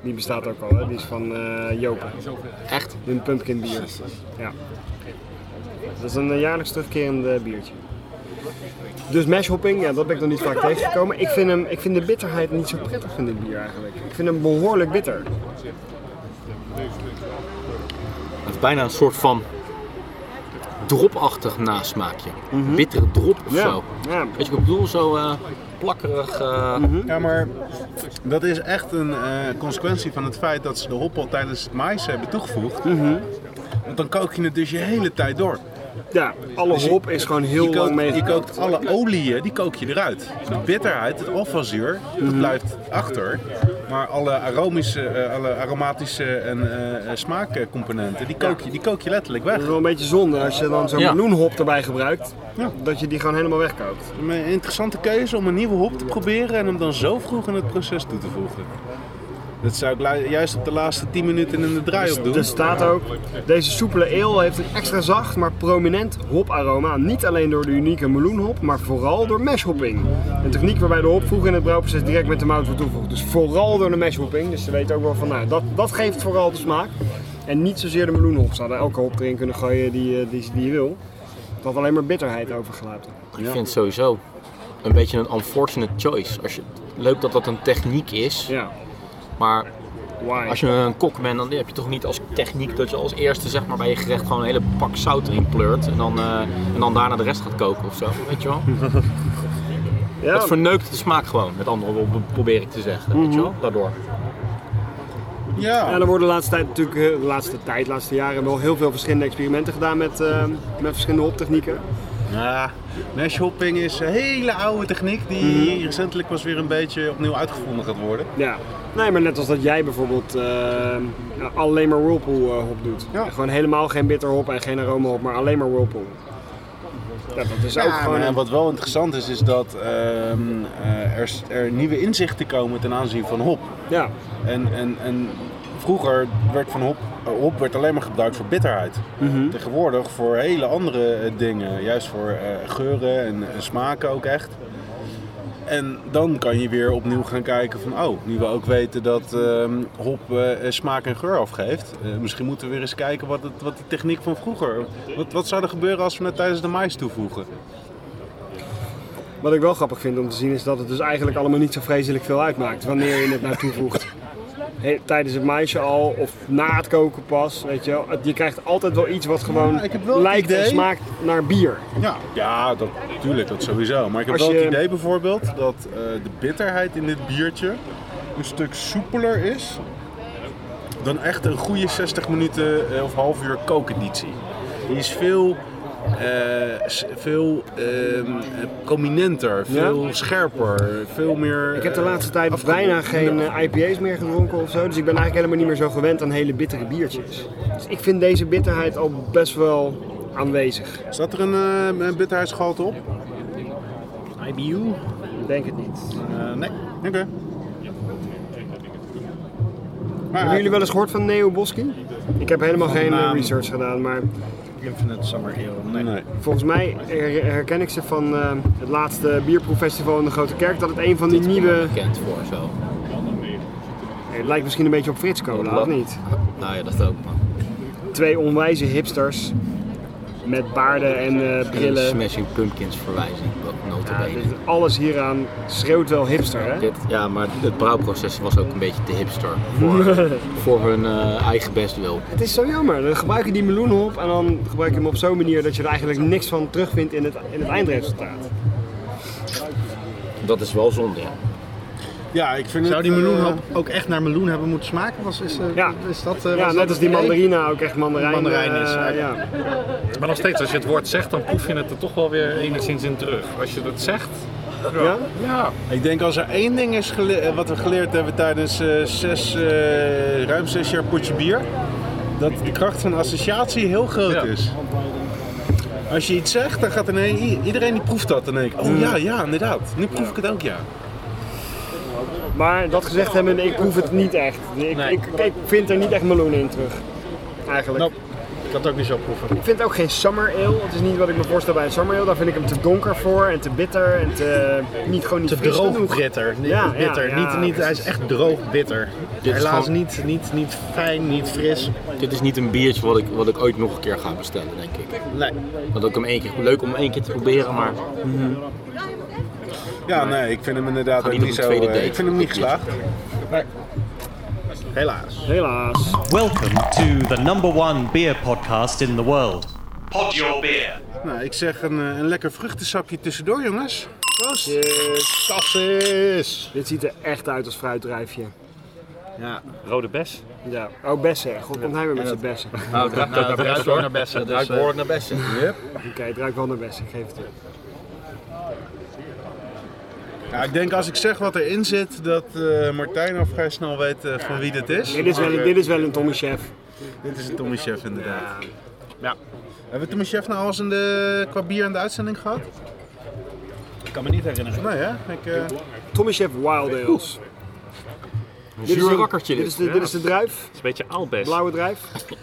Speaker 4: Die bestaat ook al, hè? die is van eh Jopen.
Speaker 1: Echt?
Speaker 4: Een pumpkin bier. Ja. Dat is een eh, jaarlijks terugkerend eh, biertje. Dus mashhopping, ja, dat ben ik nog niet vaak tegengekomen. Ik vind, hem, ik vind de bitterheid niet zo prettig van dit bier eigenlijk. Ik vind hem behoorlijk bitter.
Speaker 1: Het is bijna een soort van dropachtig nasmaakje. Bittere drop of
Speaker 4: Mhm. Ja,
Speaker 1: zo.
Speaker 4: ja.
Speaker 1: Weet je wat ik bedoel? Zo eh, plakkerig. eh,
Speaker 4: Mhm.
Speaker 2: Ja, maar dat is echt een eh, consequentie van het feit dat ze de hoppel tijdens het mais hebben toegevoegd.
Speaker 4: Mhm.
Speaker 2: Want dan kook je het dus je hele tijd door.
Speaker 4: ja alle
Speaker 2: Dus je-
Speaker 4: hop is gewoon heel
Speaker 2: je,
Speaker 4: lang
Speaker 2: kookt, je
Speaker 4: mee.
Speaker 2: kookt alle olieën, die kook je eruit. Dus de bitterheid, het alfazuur, dat blijft achter. Maar alle, aromische, eh, alle aromatische en eh, eh, smaakcomponenten, die kook, je, die kook je letterlijk
Speaker 4: Dat
Speaker 2: weg.
Speaker 4: is wel een beetje zonde als je dan zo'n
Speaker 1: Ja.
Speaker 4: meloenhop erbij gebruikt,
Speaker 2: Ja.
Speaker 4: dat je die gewoon helemaal wegkookt.
Speaker 2: Een interessante keuze om een nieuwe hop te proberen en hem dan zo vroeg in het proces toe te voegen. Dat zou ik lu- juist op de laatste 10 minuten in de draai op doen.
Speaker 4: Er Dus staat ook, deze soepele ale heeft een extra zacht, maar prominent hoparoma. Niet alleen door de unieke meloenhop, maar vooral door meshhopping. Een techniek waarbij de hop vroeg in het brouwproces direct met de mout wordt toegevoegd. Dus vooral door de meshhopping. Dus ze weten ook wel van, nou, dat, dat geeft vooral de smaak. En niet zozeer de meloenhop. Ze hadden elke hop erin kunnen gooien die, eh, die, die je wil. Dat alleen maar bitterheid overgelaten.
Speaker 1: Ik vind het sowieso een beetje een unfortunate choice. Als je, leuk dat dat een techniek is,
Speaker 4: Ja,
Speaker 1: maar
Speaker 4: why?
Speaker 1: als je een kok bent, dan heb je toch niet als techniek dat je als eerste zeg maar, bij je gerecht gewoon een hele pak zout erin pleurt en dan, eh, en dan daarna de rest gaat koken of zo. Weet je wel?
Speaker 4: Mhm. ja,
Speaker 1: Het verneukt de smaak gewoon, met andere woorden probeer ik te zeggen. Weet
Speaker 4: Mhm.
Speaker 1: je wel? Daardoor.
Speaker 2: Ja.
Speaker 4: Ja, er worden de laatste tijd natuurlijk, eh, de laatste tijd, de laatste jaren wel heel veel verschillende experimenten gedaan met, eh, met verschillende hoptechnieken.
Speaker 6: Ja, mash hopping is een hele oude techniek die recentelijk pas weer een beetje opnieuw uitgevonden gaat worden.
Speaker 4: Ja. Nee, maar net als dat jij bijvoorbeeld eh, alleen maar whirlpool eh, hop doet.
Speaker 6: Ja.
Speaker 4: Gewoon helemaal geen bitter hop en geen aroma hop, maar alleen maar whirlpool. Ja, dat is ook
Speaker 6: Ja,
Speaker 4: gewoon...
Speaker 6: en eh, wat wel interessant is, is dat ehm, eh, er, er nieuwe inzichten komen ten aanzien van hop.
Speaker 4: Ja.
Speaker 6: En, en, en vroeger werd van hop, eh, hop werd alleen maar gebruikt voor bitterheid.
Speaker 2: Mhm.
Speaker 6: Tegenwoordig voor hele andere eh, dingen. Juist voor eh, geuren en, en smaken ook echt. En dan kan je weer opnieuw gaan kijken van, oh, nu we ook weten dat ehm, hop eh, eh, smaak en geur afgeeft. eh, misschien moeten we weer eens kijken wat, het, wat die techniek van vroeger, wat, wat zou er gebeuren als we het tijdens de mais toevoegen?
Speaker 4: Wat ik wel grappig vind om te zien is dat het dus eigenlijk allemaal niet zo vreselijk veel uitmaakt wanneer je het naar
Speaker 6: [laughs]
Speaker 4: toevoegt. He- Tijdens het maisje al of na het koken pas, weet je wel. Het- Je krijgt altijd wel iets wat gewoon
Speaker 6: Ja, ik heb wel het
Speaker 4: lijkt en
Speaker 6: idee-
Speaker 4: smaakt naar bier.
Speaker 6: Ja, ja dat, tuurlijk, dat sowieso. Maar ik heb
Speaker 4: Als
Speaker 6: wel
Speaker 4: je-
Speaker 6: het idee bijvoorbeeld dat eh, de bitterheid in dit biertje een stuk soepeler is dan echt een goede 60 minuten eh, of half uur kookeditie. Die is veel, eh, s- veel ehm, eh, prominenter, veel scherper, veel meer...
Speaker 4: Ik heb de
Speaker 6: eh,
Speaker 4: laatste tijd
Speaker 6: afgerond.
Speaker 4: bijna geen eh, IPA's meer gedronken of zo. Dus ik ben eigenlijk helemaal niet meer zo gewend aan hele bittere biertjes. Dus ik vind deze bitterheid al best wel aanwezig.
Speaker 6: Staat er een, eh, een bitterheidsgehalte op?
Speaker 2: IBU?
Speaker 4: Ik denk het niet.
Speaker 2: Eh, nee.
Speaker 6: Oké. Maar
Speaker 4: Hebben jullie wel eens gehoord van Neo Boski? Ik heb helemaal geen eh,
Speaker 2: naam.
Speaker 4: research gedaan, maar
Speaker 2: Infinite Summer Ale. Nee.
Speaker 6: Nee.
Speaker 4: Volgens mij her- herken ik ze van eh, het laatste bierproeffestival in de Grote Kerk. Dat het een van die nieuwe.
Speaker 1: bekend voor zo.
Speaker 4: Het lijkt misschien een beetje op Frits Cola, of niet?
Speaker 1: Nou ja, dat ook, man.
Speaker 4: Twee onwijze hipsters. Met baarden en eh,
Speaker 1: En de
Speaker 4: brillen.
Speaker 1: Smashing Pumpkins verwijzing, ook
Speaker 4: Ja,
Speaker 1: nota bene.
Speaker 4: dit- alles hieraan schreeuwt wel hipster, hè?
Speaker 1: Dit, ja, maar het brouwproces was ook een beetje te hipster voor, [laughs] voor hun eh, eigen best wil.
Speaker 4: Het is zo jammer. Dan gebruik je die meloenhop en dan gebruik je hem op zo'n manier dat je er eigenlijk niks van terugvindt in het, in het eindresultaat.
Speaker 1: Dat is wel zonde, ja.
Speaker 6: Ja, ik vind
Speaker 2: Zou
Speaker 6: het,
Speaker 2: die meloen
Speaker 6: eh,
Speaker 2: ook, ook echt naar meloen hebben moeten smaken? Was, is, eh,
Speaker 4: Ja.
Speaker 2: is dat, eh, was
Speaker 4: Ja,
Speaker 2: dat
Speaker 4: net als
Speaker 2: het
Speaker 4: die
Speaker 2: idee?
Speaker 4: mandarina ook echt mandarijn,
Speaker 2: Mandarijn is,
Speaker 4: eh,
Speaker 2: ja.
Speaker 4: ja.
Speaker 3: [laughs] Maar nog steeds, als je het woord zegt, dan proef je het er toch wel weer enigszins in terug. Als je dat zegt,
Speaker 4: Ja?
Speaker 3: ja.
Speaker 6: Ik denk als er één ding is gele- eh, wat we geleerd hebben tijdens eh, zes, eh, ruim zes jaar potje bier, dat de kracht van associatie heel groot
Speaker 3: Ja.
Speaker 6: is. Als je iets zegt, dan gaat ineens, i- iedereen die proeft dat en denkt, oh ja, ja, inderdaad, nu proef ik het ook ja.
Speaker 4: Maar dat gezegd hebben, ik proef het niet echt. Ik, ik, ik vind er niet echt meloen in terug. Eigenlijk.
Speaker 2: Nope. Ik had het ook niet zo proeven.
Speaker 4: Ik vind het ook geen summer ale. Het is niet wat ik me voorstel bij een summer ale. Daar vind ik hem te donker voor en te bitter en te, niet, gewoon niet
Speaker 2: Te
Speaker 4: fris
Speaker 2: droog
Speaker 4: genoeg.
Speaker 2: bitter. Niet,
Speaker 4: Ja,
Speaker 2: bitter.
Speaker 4: ja,
Speaker 2: niet,
Speaker 4: ja,
Speaker 2: niet, hij is
Speaker 4: precies.
Speaker 2: echt droog bitter.
Speaker 1: is
Speaker 2: Helaas
Speaker 1: gewoon-
Speaker 2: niet, niet, niet fijn, niet fris.
Speaker 1: Dit is niet een biertje wat ik, wat ik ooit nog een keer ga bestellen, denk ik.
Speaker 2: Nee.
Speaker 1: Want ook hem één keer, leuk om hem één keer te proberen, maar
Speaker 6: Ja, nee, ik vind hem inderdaad
Speaker 1: Ga
Speaker 6: ook
Speaker 1: niet
Speaker 6: niet
Speaker 1: op
Speaker 6: zo,
Speaker 1: een tweede
Speaker 6: eh,
Speaker 1: date.
Speaker 6: ik vind hem niet geslaagd.
Speaker 2: Helaas.
Speaker 4: Helaas.
Speaker 5: Welcome to the number one beer podcast in the world. Pod Your Beer.
Speaker 6: Nou, ik zeg een, eh, een lekker vruchtensapje tussendoor jongens. Proost!
Speaker 4: Yes.
Speaker 2: Tassis!
Speaker 4: Dit ziet er echt uit als fruitdrijfje.
Speaker 2: Ja.
Speaker 3: Rode bes.
Speaker 4: Ja. Oh, bessen. God, komt hij weer met zijn bessen. Oké,
Speaker 7: Nou, het ruikt ook naar best
Speaker 2: door
Speaker 7: hoor.
Speaker 2: naar bessen.
Speaker 7: Het ruikt
Speaker 2: dus, eh,
Speaker 7: behoorlijk naar bessen.
Speaker 4: het ruikt wel naar bessen. Ik geef het toe.
Speaker 6: Ja, ik denk als ik zeg wat erin zit, dat eh, Martijn al vrij snel weet eh, van wie dit is.
Speaker 4: Dit is wel,
Speaker 6: Maar,
Speaker 4: een-
Speaker 6: eh,
Speaker 4: dit is wel een Tommy Chef.
Speaker 6: Dit is de Tommy Chef inderdaad. Ja. Hebben we Tommy Chef nou al eens in de, qua bier in de uitzending gehad?
Speaker 2: Ik kan me niet herinneren.
Speaker 6: Nee hè? Ik, eh,
Speaker 4: Tommy Chef Wild Ales. Dit is,
Speaker 1: zuur
Speaker 4: de,
Speaker 1: rakkertje
Speaker 4: dit
Speaker 1: dit.
Speaker 4: is de, dit is de druif,
Speaker 3: Het is een beetje aalbes.
Speaker 4: blauwe druif.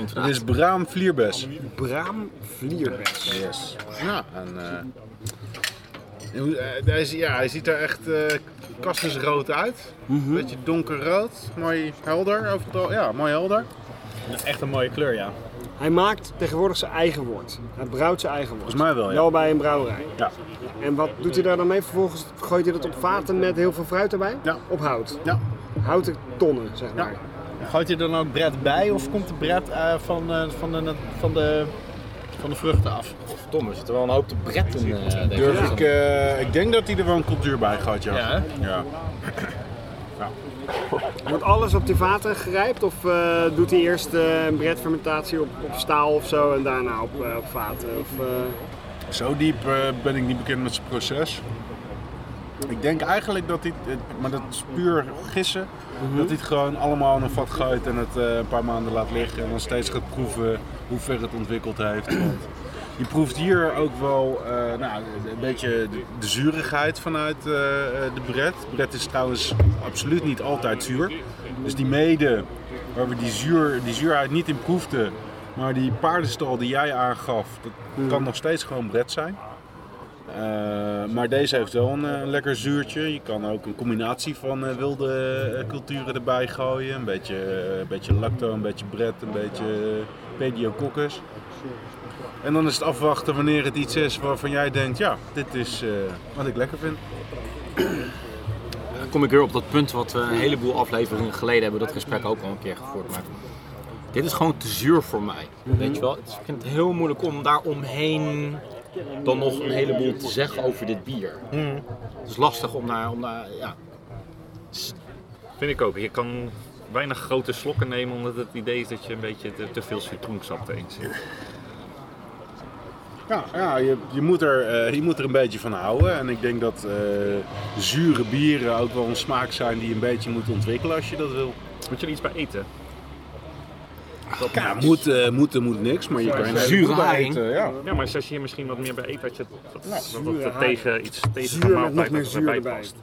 Speaker 6: dit is Braam Vlierbes.
Speaker 4: Braam vlierbes.
Speaker 6: Yes. Ja, en... eh, en hoe- eh, hij, is- ja, hij ziet er echt eh kastensrood uit. Beetje donkerrood, mooi helder overal. Ja, mooi helder.
Speaker 2: Echt een mooie kleur, ja.
Speaker 4: Hij maakt tegenwoordig zijn eigen wort. Hij brouwt zijn eigen wort.
Speaker 6: Volgens mij wel, ja.
Speaker 4: Wel bij een brouwerij.
Speaker 6: Ja.
Speaker 4: En wat doet hij daar dan mee? Vervolgens gooit hij dat op vaten met heel veel fruit erbij?
Speaker 6: Ja.
Speaker 4: Op hout.
Speaker 6: Ja.
Speaker 4: Houten tonnen, zeg maar.
Speaker 2: Gooit je er dan ook bret bij of komt de bret eh, van, eh, van, de, van, de, van de vruchten af?
Speaker 1: Tom, er zit er wel een hoop te bretten. eh, denk ik.
Speaker 6: Durf ik... eh, ik denk dat hij er wel een cultuur bij gaat, ja.
Speaker 2: Ja,
Speaker 6: ja.
Speaker 4: Wordt alles op die vaten gerijpt? Of eh, doet hij eerst eh, een bredfermentatie op, op staal of zo en daarna op, eh, op vaten? Of, eh,
Speaker 2: Zo diep eh, ben ik niet bekend met zijn proces. Ik denk eigenlijk dat dit, het- maar dat is puur gissen, dat dit gewoon allemaal in een vat gooit en het eh, een paar maanden laat liggen en dan steeds gaat proeven hoe ver het ontwikkeld heeft. Want je proeft hier ook wel eh, nou, een beetje de, de zurigheid vanuit eh, de bret. Bret is trouwens absoluut niet altijd zuur. Dus die mede waar we die, zuur, die zuurheid niet in proefden, maar die paardenstal die jij aangaf, dat kan nog steeds gewoon bret zijn. Eh, maar deze heeft wel een eh, lekker zuurtje. Je kan ook een combinatie van eh, wilde eh, culturen erbij gooien. Een beetje, eh, een beetje lacto, een beetje bret, een beetje eh, pediococcus. En dan is het afwachten wanneer het iets is waarvan jij denkt, ja, dit is eh, wat ik lekker vind.
Speaker 8: Dan kom ik weer op dat punt wat we een heleboel afleveringen geleden hebben dat gesprek ook al een keer gevoerd. Maar dit is gewoon te zuur voor mij. Weet je wel? Het is- Ik vind het heel moeilijk om daaromheen dan nog een heleboel te zeggen over dit bier. Het is lastig om daar, om daar ja.
Speaker 3: Vind ik ook. Je kan weinig grote slokken nemen omdat het idee is dat je een beetje te, te veel citroensap erin zit.
Speaker 2: Ja, ja je, je, moet er, eh, je moet er een beetje van houden. En ik denk dat eh, zure bieren ook wel een smaak zijn die je een beetje moet ontwikkelen als je dat wil.
Speaker 3: Moet je er iets bij eten?
Speaker 2: Ja, moet, eh, moet, eh, moet niks, maar je kan je
Speaker 8: Zure haring.
Speaker 2: ja.
Speaker 3: Ja, maar als je hier misschien wat meer bij eet, dat je dat, dat, dat,
Speaker 4: zuur,
Speaker 3: er
Speaker 4: ja.
Speaker 3: tegen iets tegen
Speaker 4: Zuur
Speaker 3: de
Speaker 4: met
Speaker 3: maaltijd
Speaker 4: nog meer
Speaker 3: dat
Speaker 4: zuur
Speaker 3: erbij
Speaker 4: erbij.
Speaker 3: past.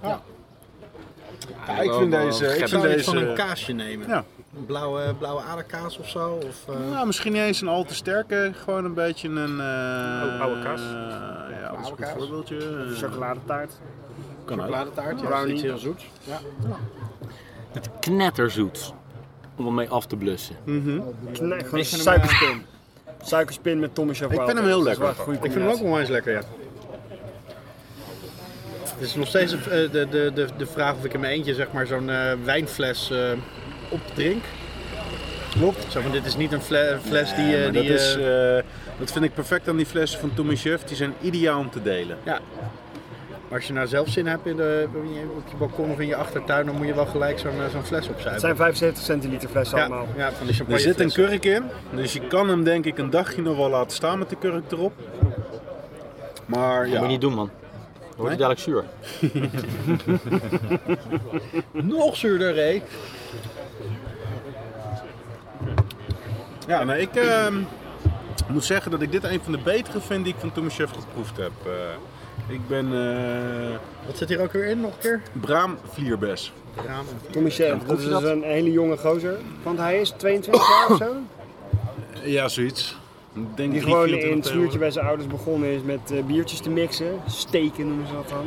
Speaker 2: Ja, ik vind deze... Ik
Speaker 6: Ik
Speaker 2: vind
Speaker 6: zou iets van
Speaker 2: deze
Speaker 6: een kaasje nemen.
Speaker 2: ja.
Speaker 6: Een blauwe, blauwe aderkaas of zo. Of, eh,
Speaker 2: nou, misschien niet eens een al te sterke, gewoon een beetje een... eh,
Speaker 3: Ou- oude kaas.
Speaker 2: eh, ja, dat is een goed
Speaker 6: kaas.
Speaker 2: voorbeeldje.
Speaker 4: Chocoladetaart.
Speaker 2: Kan ook.
Speaker 6: Chocoladetaart, ja, dat is
Speaker 4: Brownie.
Speaker 6: iets heel zoets.
Speaker 8: Het knetterzoet om ermee af te blussen.
Speaker 4: Nee,
Speaker 6: eh,
Speaker 4: gewoon suikerspin. Suikerspin met Thomas Chauffeur.
Speaker 2: Ik vind hem heel lekker.
Speaker 4: Goede
Speaker 6: Ik vind hem ook onwijs lekker, ja. Het is nog steeds eh, de, de, de, de vraag of ik in mijn eentje zeg maar, zo'n eh, wijnfles eh, opdrink. Klopt. Zo van, dit is niet een fle- fles die... eh,
Speaker 2: Maar
Speaker 6: die
Speaker 2: dat, is,
Speaker 6: eh,
Speaker 2: eh, dat vind ik perfect aan die flessen van Tommy Chef. Die zijn ideaal om te delen.
Speaker 6: ja. Maar als je nou zelf zin hebt in de, in je- op je balkon of in je achtertuin, dan moet je wel gelijk zo'n eh, zo'n fles opzuigen.
Speaker 4: Het zijn 75 centiliter flessen
Speaker 6: ja,
Speaker 4: allemaal.
Speaker 6: ja, van die champagne
Speaker 2: Er zit een
Speaker 6: flessen.
Speaker 2: kurk in, dus je kan hem denk ik een dagje nog wel laten staan met de kurk erop. Maar
Speaker 8: Dat
Speaker 2: ja,
Speaker 8: moet je niet doen man. Dan wordt het dadelijk zuur.
Speaker 6: Nog zuurder, hé.
Speaker 2: ja nee, ik ehm, moet zeggen dat ik dit een van de betere vind die ik van Tommy Chef geproefd heb. Eh, ik ben eh
Speaker 6: Wat zit hier ook weer in, nog een keer?
Speaker 2: Braam Vlierbes.
Speaker 6: Ja,
Speaker 4: Tommy Chef, dat is een hele jonge gozer. Want hij is 22 jaar of zo.
Speaker 2: Ja, zoiets. Ik Denk
Speaker 4: Die
Speaker 2: drie,
Speaker 4: gewoon
Speaker 2: vierentwintig
Speaker 4: in het
Speaker 2: euro.
Speaker 4: schuurtje bij zijn ouders begonnen is met eh, biertjes te mixen. Steken noemen ze dat dan.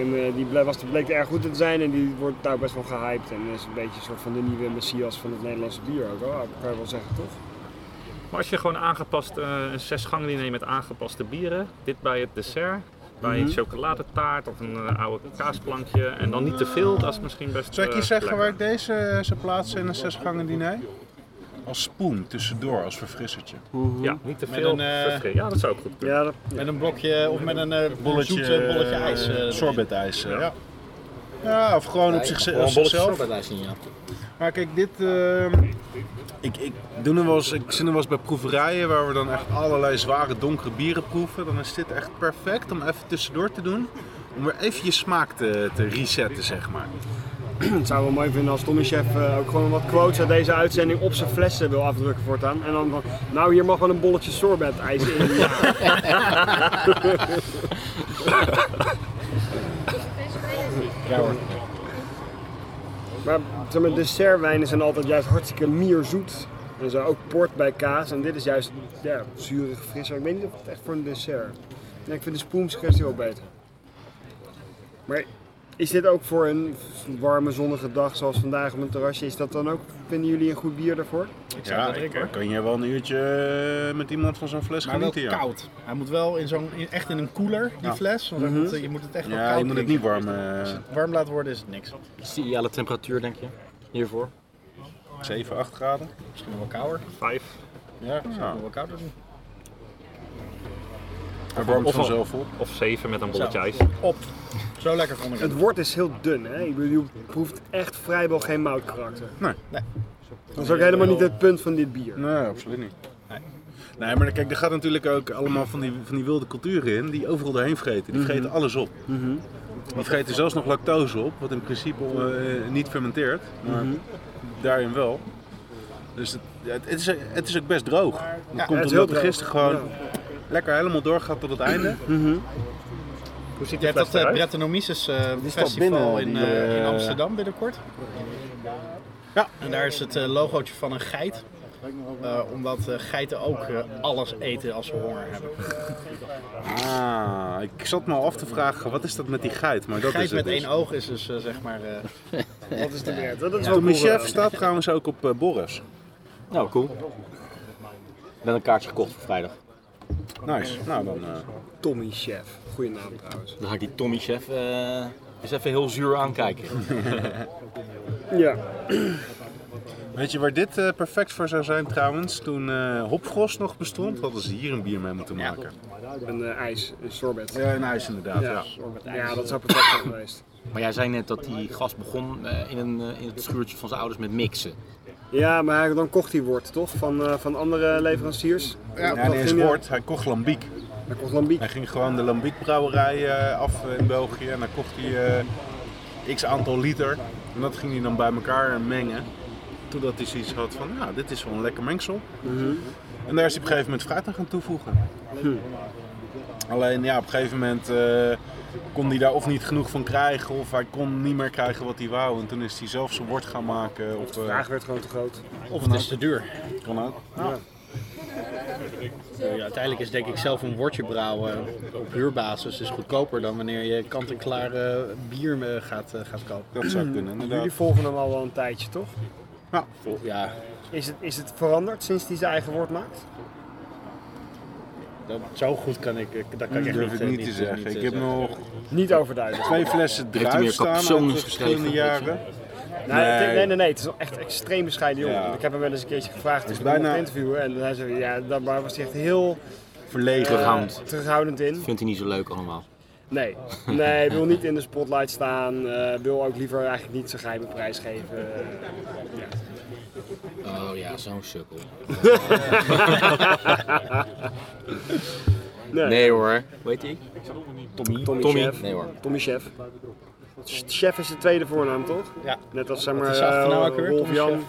Speaker 4: En eh, die ble- was, bleek erg goed in te zijn en die wordt daar best wel gehyped. En is een beetje een soort van de nieuwe messias van het Nederlandse bier ook wel, kan je wel zeggen toch?
Speaker 3: Maar als je gewoon aangepast, eh, een zes gangen diner met aangepaste bieren, dit bij het dessert, bij een chocoladetaart of een eh, oude kaasplankje en dan niet te veel, dat is misschien best
Speaker 2: Zou ik je
Speaker 3: eh,
Speaker 2: zeggen waar
Speaker 3: lekker.
Speaker 2: ik deze eh, zou plaatsen in een zesgangen diner? Als spoen tussendoor, als verfrissertje.
Speaker 3: Ja, niet te
Speaker 6: Met
Speaker 3: veel.
Speaker 6: een, eh,
Speaker 3: verfri- Ja, dat zou ook goed kunnen.
Speaker 4: Ja, dat, ja.
Speaker 6: Met een blokje of met een eh,
Speaker 2: bolletje,
Speaker 6: zoet eh, bolletje ijs. eh,
Speaker 2: Sorbetijs. eh,
Speaker 6: Ja.
Speaker 2: ja. ja, of gewoon op zich- op zichzelf. Maar kijk, dit. ehm, ik, ik, doe nog wel eens, ik zit nog wel eens bij proeverijen waar we dan echt allerlei zware donkere bieren proeven. Dan is dit echt perfect om even tussendoor te doen. Om weer even je smaak te, te resetten, zeg maar.
Speaker 4: het zou wel mooi vinden als Tommy Chef eh, ook gewoon wat quotes uit deze uitzending op zijn flessen wil afdrukken voortaan. En dan van, nou hier mag wel een bolletje sorbet ijs in. Ja. Maar zeg maar, dessertwijnen zijn altijd juist hartstikke mierzoet. En zo ook port bij kaas. En dit is juist ja, zuurig, fris. Ik weet niet of het echt voor een dessert. Nee, ik vind de spoensuggestie wel beter. Maar is dit ook voor een warme zonnige dag zoals vandaag op een terrasje? Is dat dan ook, vinden jullie een goed bier daarvoor?
Speaker 2: Ja, ik- dan kan je wel een uurtje eh, met iemand van zo'n fles
Speaker 6: Maar wel
Speaker 2: genieten. ja.
Speaker 6: koud. Hij moet wel in zo'n, in- echt in een koeler, die fles. Want hij moet- je moet het echt wel
Speaker 2: Mhm. Ja,
Speaker 6: koud
Speaker 2: je moet het niet
Speaker 6: drinken.
Speaker 2: warm. eh
Speaker 6: Als het warm laten worden is het niks.
Speaker 8: Is de ideale temperatuur denk je? Hiervoor?
Speaker 2: 7, 8 graden.
Speaker 6: Misschien nog wel kouder.
Speaker 3: Vijf.
Speaker 2: Ja,
Speaker 6: Nog wel kouder doen.
Speaker 2: Hij warmt
Speaker 3: Of-
Speaker 2: vanzelf op.
Speaker 3: Of zeven met een bolletje ijs.
Speaker 6: Op. Zo lekker vond ik het.
Speaker 4: Het wort is heel dun, hè? Ik bedoel, je proeft echt vrijwel geen moutkarakter.
Speaker 2: Nee.
Speaker 4: Dat is ook helemaal niet het punt van dit bier.
Speaker 2: Nee, absoluut niet. Nee, maar kijk, er gaat natuurlijk ook allemaal van die, van die wilde culturen in die overal doorheen vreten.
Speaker 4: Mhm.
Speaker 2: Die vreten alles op. Die vreten zelfs nog lactose op, wat in principe eh, niet fermenteert, maar
Speaker 4: Mhm.
Speaker 2: daarin wel. Dus het, het, het is, het is ook best droog. Dat
Speaker 4: het
Speaker 2: komt
Speaker 4: is
Speaker 2: omdat
Speaker 4: heel
Speaker 2: er gisteren gewoon lekker helemaal doorgaat tot het einde.
Speaker 3: Hoe ziet
Speaker 6: Je
Speaker 3: die
Speaker 6: hebt
Speaker 3: fles
Speaker 6: dat eh,
Speaker 3: eruit?
Speaker 6: Brettanomyces eh,
Speaker 9: staat
Speaker 6: festival
Speaker 9: binnen,
Speaker 6: in, eh,
Speaker 9: die, eh,
Speaker 6: in Amsterdam binnenkort.
Speaker 2: Ja.
Speaker 6: En daar is het eh, logootje van een geit. Eh, omdat eh, geiten ook eh, alles eten als ze honger hebben.
Speaker 2: Ah, ik zat me al af te vragen, wat is dat met die geit? Maar dat
Speaker 6: Geit
Speaker 2: is het
Speaker 6: met
Speaker 2: dus.
Speaker 6: één oog is dus eh, zeg maar... eh,
Speaker 4: Dat is de wet. Dat is wel
Speaker 2: Toen mijn
Speaker 4: cool,
Speaker 2: chef
Speaker 4: eh.
Speaker 2: staat trouwens ook op eh, Boris.
Speaker 1: Nou, cool. Ik ben een kaartje gekocht voor vrijdag.
Speaker 2: Nice. Nou, dan... eh,
Speaker 4: Tommy Chef. Goeie naam trouwens.
Speaker 1: Dan ga ik die Tommy Chef eh, eens even heel zuur aankijken.
Speaker 4: Ja.
Speaker 2: Weet je waar dit eh, perfect voor zou zijn trouwens? Toen eh Hopfrost nog bestond, hadden ze hier een bier mee moeten maken.
Speaker 4: Een eh, ijs, een sorbet.
Speaker 2: Ja, een ijs inderdaad.
Speaker 4: Ja. Ja, dat zou perfect zijn geweest.
Speaker 1: Maar jij zei net dat die gast begon eh, in, een, eh, in het schuurtje van zijn ouders met mixen.
Speaker 4: Ja, maar dan kocht hij wort toch? Van, eh, van andere leveranciers.
Speaker 2: Ja,
Speaker 4: Dat-
Speaker 2: ja,
Speaker 4: dat
Speaker 2: nee,
Speaker 4: ging,
Speaker 2: eens
Speaker 4: eh,
Speaker 2: woord, hij kocht Lambiek.
Speaker 4: Hij kocht lambiek.
Speaker 2: Hij ging gewoon de Lambiekbrouwerij eh, af eh, in België en dan kocht hij eh, x aantal liter. En dat ging hij dan bij elkaar mengen. Totdat hij zoiets had van, nou, dit is wel een lekker mengsel. En daar is hij op een gegeven moment fruit aan gaan toevoegen. Alleen ja, op een gegeven moment eh, kon hij daar of niet genoeg van krijgen of hij kon niet meer krijgen wat hij wou. En toen is hij zelf zijn wort gaan maken. Of,
Speaker 4: De
Speaker 2: eh,
Speaker 4: vraag werd gewoon te groot.
Speaker 6: of het is te duur.
Speaker 2: kon ook.
Speaker 6: Ja, uiteindelijk is denk ik zelf een wortje brouwen op huurbasis is goedkoper dan wanneer je kant-en-klaar eh, bier eh, gaat, eh, gaat kopen.
Speaker 2: Dat zou kunnen, inderdaad.
Speaker 4: Jullie volgen hem al wel een tijdje, toch?
Speaker 2: Ja.
Speaker 6: Ja,
Speaker 4: Is het, is het veranderd sinds hij zijn eigen woord maakt?
Speaker 6: dat, zo goed kan ik, eh, dat kan
Speaker 2: Dat
Speaker 6: ik echt
Speaker 2: Mm. durf ik
Speaker 6: eh,
Speaker 2: niet te zeggen.
Speaker 6: niet, eh,
Speaker 2: Ik heb nog
Speaker 4: Niet overduidelijk.
Speaker 2: twee flessen
Speaker 1: hij meer
Speaker 2: druif staan uit de
Speaker 1: capsones
Speaker 2: verschillende
Speaker 1: geschreven,
Speaker 2: jaren.
Speaker 4: Nee, Nou, het- nee, nee, nee. Het is wel echt een extreem bescheiden jongen.
Speaker 2: Ja.
Speaker 4: Want Ik heb hem wel eens een keertje gevraagd
Speaker 2: is
Speaker 4: om bijna... te
Speaker 2: bijna-
Speaker 4: interviewen. En hij zei, ja, daar was hij echt heel
Speaker 2: Verlegen.
Speaker 4: eh, terughoudend in.
Speaker 1: Vindt hij niet zo leuk allemaal.
Speaker 4: Nee, nee, wil niet in de spotlight staan. eh wil ook liever eigenlijk niet zijn geheime prijs geven.
Speaker 1: Oh ja, zo'n sukkel.
Speaker 4: [laughs] Nee,
Speaker 1: Nee hoor. Weet hij?
Speaker 4: Tommy. Tommy,
Speaker 1: Tommy.
Speaker 4: Chef.
Speaker 1: Nee hoor.
Speaker 4: Tommy Chef. Ch- Chef is de tweede voornaam, toch?
Speaker 6: Ja.
Speaker 4: Net als zeg maar
Speaker 6: is je achternaam
Speaker 4: eh,
Speaker 6: ook weer?
Speaker 4: Rolf
Speaker 6: Tommy
Speaker 4: Jan.
Speaker 6: Chef.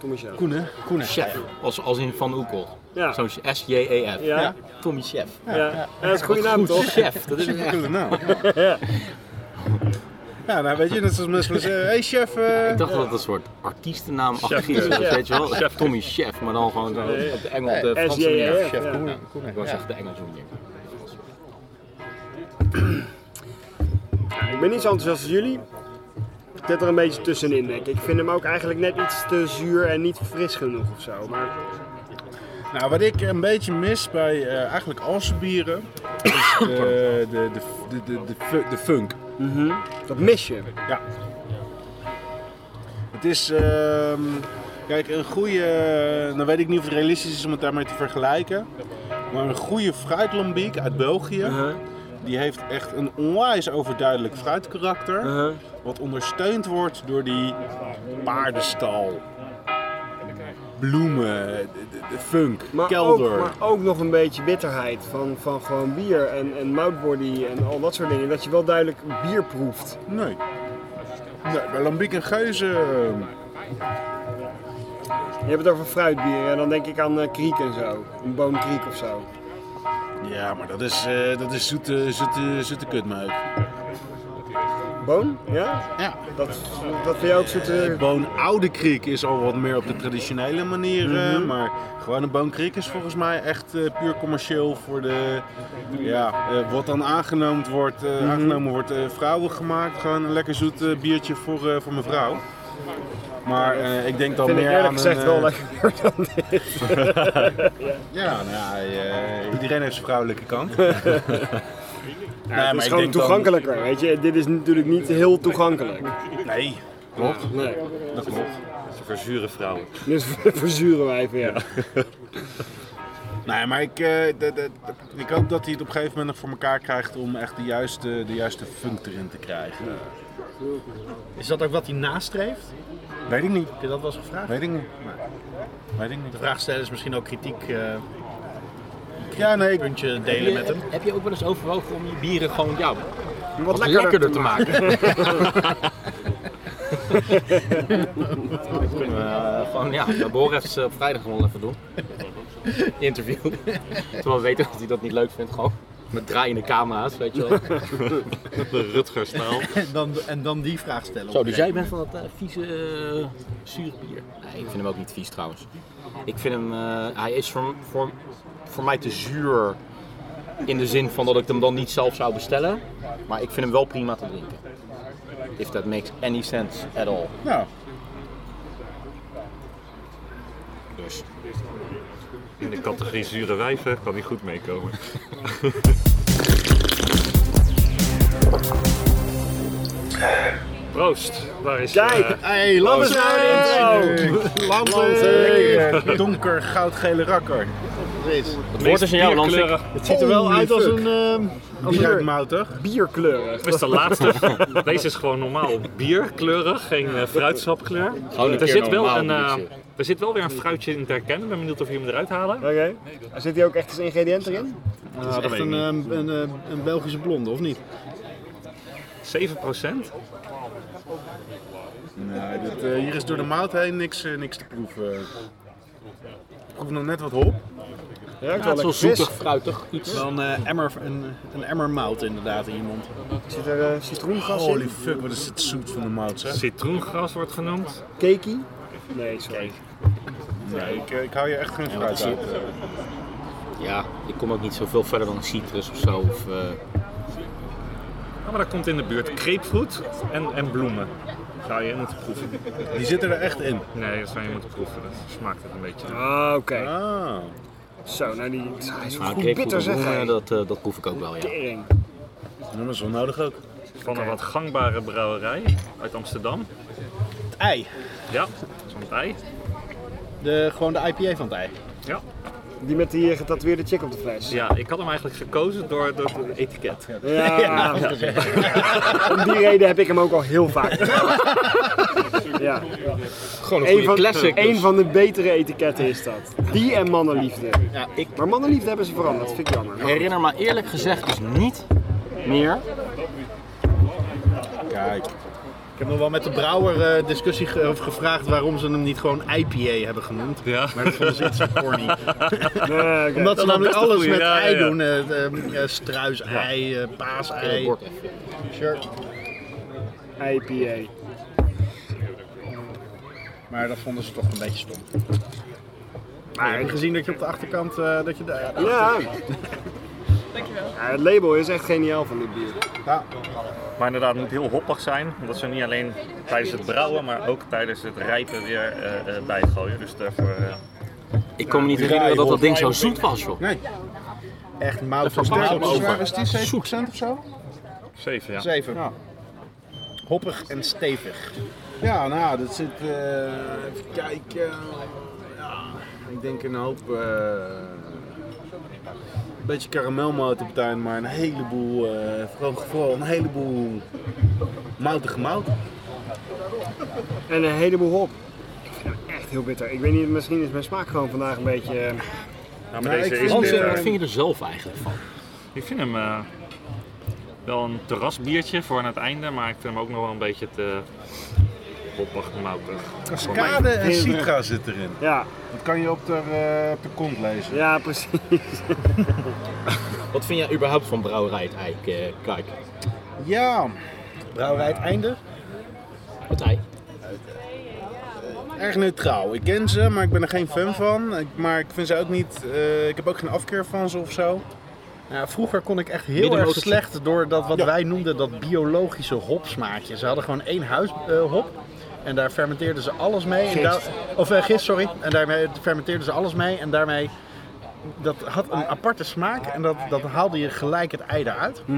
Speaker 4: Tommy Chef.
Speaker 2: Koenen. Koenen.
Speaker 1: Chef. Als, als in Van Oekel.
Speaker 4: Ja.
Speaker 1: Zo'n S-J-E-F.
Speaker 4: Ja. Ja.
Speaker 1: E Tommy Chef.
Speaker 4: Ja. dat is een goede eh, naam, toch?
Speaker 1: Chef. Dat is echt...
Speaker 2: Koele naam. Ja, nou weet je, net zoals mensen zeggen, hey chef. eh."
Speaker 1: Ik dacht dat het een soort artiestennaam achter iets was,
Speaker 4: ja.
Speaker 1: weet je wel? Tommy Chef, maar dan gewoon zo op de Engel, de
Speaker 4: SJF,
Speaker 1: Franse manier.
Speaker 4: E ja. Chef Koenen.
Speaker 1: Ik was echt de Engelse manier.
Speaker 4: Ik ben niet zo enthousiast als jullie. Ik zit er een beetje tussenin, denk ik. Ik vind hem ook eigenlijk net iets te zuur en niet fris genoeg of zo. Maar
Speaker 2: Nou, wat ik een beetje mis bij eh, eigenlijk al zijn bieren, is eh, de, de, de, de, de, fu- de funk.
Speaker 4: dat mis je.
Speaker 2: Ja. Het is, ehm, kijk, een goede, dan weet ik niet of het realistisch is om het daarmee te vergelijken, maar een goede fruitlambiek uit België,
Speaker 4: Uh-huh.
Speaker 2: die heeft echt een onwijs overduidelijk fruitkarakter,
Speaker 4: Uh-huh.
Speaker 2: wat ondersteund wordt door die paardenstal, bloemen, de, de- de funk,
Speaker 4: Maar
Speaker 2: kelder.
Speaker 4: Ook, maar ook nog een beetje bitterheid van, van gewoon bier en, en moutbody en al dat soort dingen. Dat je wel duidelijk bier proeft.
Speaker 2: Nee. Nee, bij lambiek en ehm, geuzen.
Speaker 4: Je hebt het over fruitbier en dan denk ik aan eh, kriek en zo. Een boomkriek of zo.
Speaker 2: Ja, maar dat is, eh, dat is zoete, zoete, zoete kutmeuk.
Speaker 4: Boom? Ja?
Speaker 2: Ja.
Speaker 4: Dat, dat vind je ook zoete...
Speaker 2: Boon Oude Kriek is al wat meer op de traditionele manier, eh,
Speaker 4: Mhm.
Speaker 2: maar gewoon een Boon Kriek is volgens mij echt eh, puur commercieel voor de, ja, eh, wat dan aangenomen wordt, eh,
Speaker 4: Mhm.
Speaker 2: aangenomen wordt eh, vrouwen gemaakt. Gewoon een lekker zoet eh, biertje voor, eh, voor mijn vrouw. Maar eh, ik denk dan
Speaker 4: Vind ik
Speaker 2: meer
Speaker 4: eerlijk
Speaker 2: aan
Speaker 4: gezegd
Speaker 2: een,
Speaker 4: wel
Speaker 2: eh,
Speaker 4: lekker dan dit.
Speaker 2: Ja, nou ja, eh, iedereen heeft zijn vrouwelijke kant.
Speaker 4: [laughs] Ja, het
Speaker 2: maar
Speaker 4: is
Speaker 2: ik
Speaker 4: gewoon
Speaker 2: denk dan-
Speaker 4: toegankelijker, weet je. Dit is natuurlijk niet heel toegankelijk.
Speaker 2: Nee, klopt.
Speaker 4: Nee.
Speaker 2: Dat klopt.
Speaker 9: Verzure vrouwen.
Speaker 4: Dus [laughs] verzuren wij even, ja.
Speaker 2: Nee, maar ik, eh, de- de- de- ik hoop dat hij het op een gegeven moment nog voor elkaar krijgt om echt de juiste, de juiste funk erin te krijgen.
Speaker 6: Is dat ook wat hij nastreeft?
Speaker 2: Weet ik niet.
Speaker 6: Heb je dat wel eens gevraagd?
Speaker 2: Weet ik niet. Weet ik niet.
Speaker 6: De vraag stellen is misschien ook kritiek eh, Ja, nee, ik puntje delen met hem.
Speaker 1: Heb je ook wel eens overwogen om je bieren gewoon jou
Speaker 4: Wat
Speaker 1: lekkerder, te maken? Dat [laughs] kunnen we eh, gewoon, ja, bij Borefs eh, op vrijdag gewoon even doen. Interview. [laughs] Terwijl we weten dat hij dat niet leuk vindt, gewoon. Met draaiende camera's, weet je wel.
Speaker 3: De Rutger-stijl.
Speaker 6: En dan, en dan die vraag stellen.
Speaker 1: Zo, dus jij bent van dat eh, vieze, eh, zure bier. Nee, ik vind hem ook niet vies trouwens. Ik vind hem, eh, hij is voor, voor, voor mij te zuur. In de zin van dat ik hem dan niet zelf zou bestellen. Maar ik vind hem wel prima te drinken. If that makes any sense at all.
Speaker 2: Nou,
Speaker 1: Dus.
Speaker 3: In de categorie zure wijven kan hij goed meekomen. [laughs] Proost, daar is [laughs]
Speaker 4: Kijk,
Speaker 3: eh,
Speaker 6: Hey, Lammers
Speaker 2: lekker donker goudgele rakker.
Speaker 6: Precies.
Speaker 1: Het
Speaker 3: meest
Speaker 1: woord is in jou, Lans.
Speaker 3: bierkleurig.
Speaker 4: Het ziet er wel
Speaker 2: Holy
Speaker 4: uit als
Speaker 2: fuck.
Speaker 4: een ehm, als
Speaker 2: Die
Speaker 4: een
Speaker 2: uit
Speaker 4: bier-
Speaker 2: moutig.
Speaker 4: bierkleurig.
Speaker 3: Dat
Speaker 6: [laughs]
Speaker 3: is de laatste. Deze is gewoon normaal bierkleurig, geen eh, fruitsapkleur. er, zit wel een, eh, er zit wel weer een fruitje in te herkennen. Ik ben benieuwd of jullie hem eruit halen.
Speaker 4: Oké. Zit hier ook echt als ingrediënt erin?
Speaker 6: Dat
Speaker 2: Nou,
Speaker 6: is echt een, ehm, een, eh, een Belgische blonde, of niet?
Speaker 3: 7
Speaker 2: Nee, dit, eh, hier is door de mout heen niks, eh, niks te proeven. Ik proef nog net wat hop.
Speaker 1: Ja,
Speaker 4: Ruikt wel
Speaker 1: het is wel
Speaker 4: lekker fris.
Speaker 1: zoetig, fruitig, iets.
Speaker 6: Wel een, eh, emmer, een, een emmer mout inderdaad in je mond.
Speaker 4: Zit er eh, citroengas
Speaker 2: Holy
Speaker 4: in?
Speaker 2: fuck, wat is het zoet van de mout zeg.
Speaker 3: Citroengras wordt genoemd.
Speaker 4: Cakey? Nee, sorry.
Speaker 2: Nee, ik, eh, ik hou hier echt geen fruit uit.
Speaker 1: Ja, ik kom ook niet zoveel verder dan citrus of zo. Of, eh,
Speaker 3: Ja, Ah, maar dat komt in de buurt. Kreepvroet en, en bloemen. Zou je moeten proeven.
Speaker 2: Die zitten er echt in.
Speaker 3: Nee, dat zou je moeten proeven. Dat smaakt het een beetje. naar.
Speaker 4: Ah, oké.
Speaker 2: Ah.
Speaker 4: Zo, nou die hij is wel
Speaker 1: maar
Speaker 4: goed
Speaker 1: grapefruit
Speaker 4: bitter zeg
Speaker 1: bloemen,
Speaker 4: hij.
Speaker 1: dat, eh, dat proef ik ook wel, ja.
Speaker 4: Tering.
Speaker 2: Ja, nou, dat is wel nodig ook.
Speaker 3: Van een wat gangbare brouwerij uit Amsterdam.
Speaker 6: Het ei.
Speaker 3: Ja, zo'n ei.
Speaker 6: De, gewoon de IPA van het ei.
Speaker 3: Ja.
Speaker 4: Die met die eh, getatoeëerde chick op de fles.
Speaker 3: ja, ik had hem eigenlijk gekozen door, door het etiket.
Speaker 4: Ja, om die reden heb ik hem ook al heel vaak gedaan. ja.
Speaker 1: Gewoon
Speaker 4: Een van,
Speaker 1: classic.
Speaker 4: een van de betere etiketten is dat. Die en mannenliefde.
Speaker 1: Ja, ik
Speaker 4: Maar mannenliefde hebben ze veranderd, vind ik jammer. Maar
Speaker 1: herinner me eerlijk gezegd dus niet meer
Speaker 2: Kijk.
Speaker 6: Ik heb nog wel met de brouwer eh, discussie ge- of gevraagd waarom ze hem niet gewoon IPA hebben genoemd.
Speaker 3: Ja.
Speaker 6: Maar dat vonden ze iets corny.
Speaker 4: Nee, oké.
Speaker 6: Omdat ze
Speaker 3: is
Speaker 6: namelijk
Speaker 3: best een
Speaker 6: alles
Speaker 3: goeie,
Speaker 6: met
Speaker 3: ja,
Speaker 6: ei
Speaker 3: ja.
Speaker 6: doen. eh, eh, eh, struisei, eh, paasei.
Speaker 1: Bord
Speaker 6: Sure.
Speaker 4: IPA.
Speaker 6: Maar dat vonden ze toch een beetje stom.
Speaker 4: Maar
Speaker 6: Heb je gezien dat je op de achterkant eh, dat je daar...
Speaker 4: Ja. Dankjewel. het label is echt geniaal van dit bier.
Speaker 3: Maar inderdaad, het moet heel hoppig zijn. Omdat ze niet alleen tijdens het brouwen, maar ook tijdens het rijpen weer eh, eh, bijgooien. Dus daarvoor... eh,
Speaker 1: Ik kan me niet herinneren dat dat ding zo zoet was, joh.
Speaker 6: Echt mout
Speaker 1: De verpakking
Speaker 6: mout
Speaker 1: was
Speaker 6: over.
Speaker 1: zwaar.
Speaker 2: Waar is die 7% of zo?
Speaker 3: Zeven, ja.
Speaker 6: 7. Hoppig en stevig.
Speaker 2: Ja, nou, dat zit. eh, even kijken. Ja, ik denk een hoop. eh beetje karamelmout op het eind, maar een heleboel. eh, vooral, vooral een heleboel. moutige mout.
Speaker 4: En een heleboel hop. Ik vind hem echt heel bitter. Ik weet niet, misschien is mijn smaak gewoon vandaag een beetje... eh,
Speaker 3: Nou, maar
Speaker 2: Nou,
Speaker 3: deze
Speaker 2: ik
Speaker 3: is
Speaker 2: vind-
Speaker 1: Hans,
Speaker 3: dit,
Speaker 1: wat
Speaker 3: eh,
Speaker 1: vind je er zelf eigenlijk van?
Speaker 3: Ik vind hem eh, wel een terrasbiertje voor aan het einde, maar ik vind hem ook nog wel een beetje te hoppig, moutig. Voor mij.
Speaker 2: Kade en
Speaker 4: Heel
Speaker 2: citra zit erin.
Speaker 4: Ja,
Speaker 2: Dat kan je op de, eh, op de kont lezen.
Speaker 4: ja precies.
Speaker 1: Wat vind jij überhaupt van brouwerij het ei? eh, Kijk,
Speaker 2: Ja,
Speaker 6: Brouwerij het einde.
Speaker 1: het ei.
Speaker 2: erg neutraal. Ik ken ze, maar ik ben er geen fan van. Ik- maar ik vind ze ook niet. eh, ik heb ook geen afkeer van ze of zo.
Speaker 6: Ja, vroeger kon ik echt heel
Speaker 1: Middenmotor-
Speaker 6: erg slecht door dat wat wij noemden dat biologische hopsmaakje. Ze hadden gewoon één huishop en daar fermenteerden ze alles mee. En daar- of eh, gist, sorry. En daarmee fermenteerden ze alles mee en daarmee... Dat had een aparte smaak en dat, dat haalde je gelijk het ei eruit. Eh,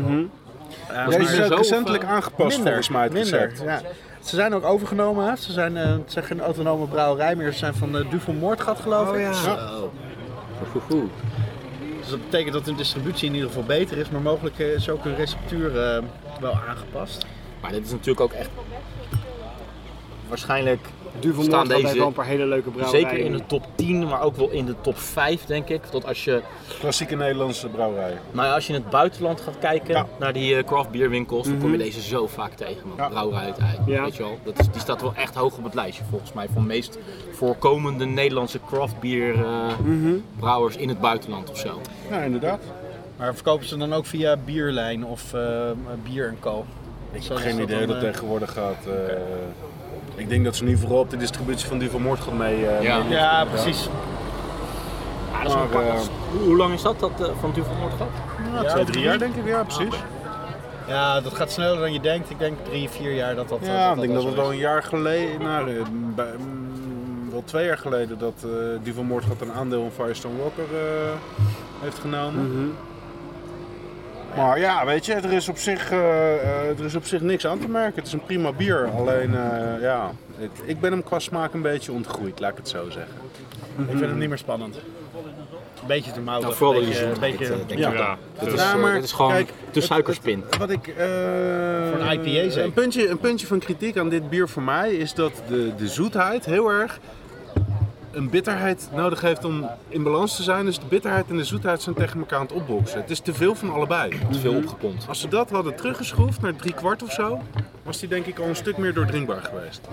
Speaker 2: Deze
Speaker 6: maar-
Speaker 2: is ook
Speaker 1: zo, of,
Speaker 2: recentelijk
Speaker 1: eh,
Speaker 2: aangepast volgens mij. Het
Speaker 6: minder,
Speaker 2: recept.
Speaker 6: ja. Ze zijn ook overgenomen. hè. Ze zijn, eh, het zijn geen autonome brouwerij meer. Ze zijn van eh, Duvel Moordgat
Speaker 4: Oh,
Speaker 1: Oh,
Speaker 6: geloof ik.
Speaker 1: Oeh.
Speaker 6: Dus dat betekent dat hun distributie in ieder geval beter is. Maar mogelijk eh, is ook hun receptuur eh, wel aangepast.
Speaker 1: Maar dit is natuurlijk ook echt waarschijnlijk
Speaker 4: Duvelmoord
Speaker 1: Staan
Speaker 4: had heeft
Speaker 1: deze-
Speaker 4: wel een paar hele leuke brouwerijen.
Speaker 1: zeker in de top 10, maar ook wel in de top 5, denk ik. Dat als je,
Speaker 2: Klassieke Nederlandse brouwerij.
Speaker 1: nou ja, als je in het buitenland gaat kijken
Speaker 2: Ja.
Speaker 1: naar die eh, craft beer winkels, dan kom je deze zo vaak tegen. Man.
Speaker 2: Ja.
Speaker 1: Brouwerij uit Eyck,
Speaker 4: Ja.
Speaker 1: weet je wel. Dat is, die staat wel echt hoog op het lijstje, volgens mij, van meest voorkomende Nederlandse craft beer eh, brouwers in het buitenland of zo.
Speaker 2: Ja, inderdaad.
Speaker 6: Maar verkopen ze dan ook via bierlijn of eh, bier en kool? Ik
Speaker 2: Ik heb geen idee hoe dat tegenwoordig gaat. eh, Ik denk dat ze nu vooral op de distributie van Duvelmoord gaat mee. eh,
Speaker 1: Ja.
Speaker 2: mee-
Speaker 6: Ja, precies.
Speaker 1: Ja, dat is
Speaker 2: Maar,
Speaker 1: wel apart.
Speaker 2: eh,
Speaker 1: Hoe- Hoe lang is dat, dat eh, van Duvelmoord gehad?
Speaker 2: Ja, twee, drie Ah, jaar denk ik, ja precies.
Speaker 6: Ja, dat gaat sneller dan je denkt. Ik denk drie, vier jaar dat eh, dat.
Speaker 2: Ja, ik denk dat
Speaker 6: al
Speaker 2: het
Speaker 6: zo
Speaker 2: wel een jaar geleden, nou, eh, bij- mm, wel twee jaar geleden, dat eh Duvel Moordgat een aandeel in Firestone Walker eh, heeft genomen. Maar ja, weet je, er is, op zich, eh, eh, er is op zich niks aan te merken. Het is een prima bier, alleen eh, ja, ik, ik ben hem qua smaak een beetje ontgroeid, laat ik het zo zeggen.
Speaker 6: is. Ik vind hem niet meer spannend. Een beetje te mouwen.
Speaker 1: Nou, vooral door die
Speaker 6: beetje, een
Speaker 1: zoetheid,
Speaker 6: beetje
Speaker 1: eh, denk
Speaker 3: Ja,
Speaker 1: ik. Ja.
Speaker 3: dus-
Speaker 1: is, eh, dit is gewoon de
Speaker 2: het-
Speaker 1: suikerspin.
Speaker 2: het- wat ik, eh,
Speaker 6: Voor een IPA zeker.
Speaker 2: Een puntje, een puntje van kritiek aan dit bier voor mij is dat de, de zoetheid heel erg een bitterheid nodig heeft om in balans te zijn. Dus de bitterheid en de zoetheid zijn tegen elkaar aan het opboksen. Het is te veel van allebei. Mhm.
Speaker 1: Te veel opgepompt.
Speaker 2: Als ze dat hadden teruggeschroefd naar drie kwart of zo, was die denk ik al een stuk meer doordringbaar geweest.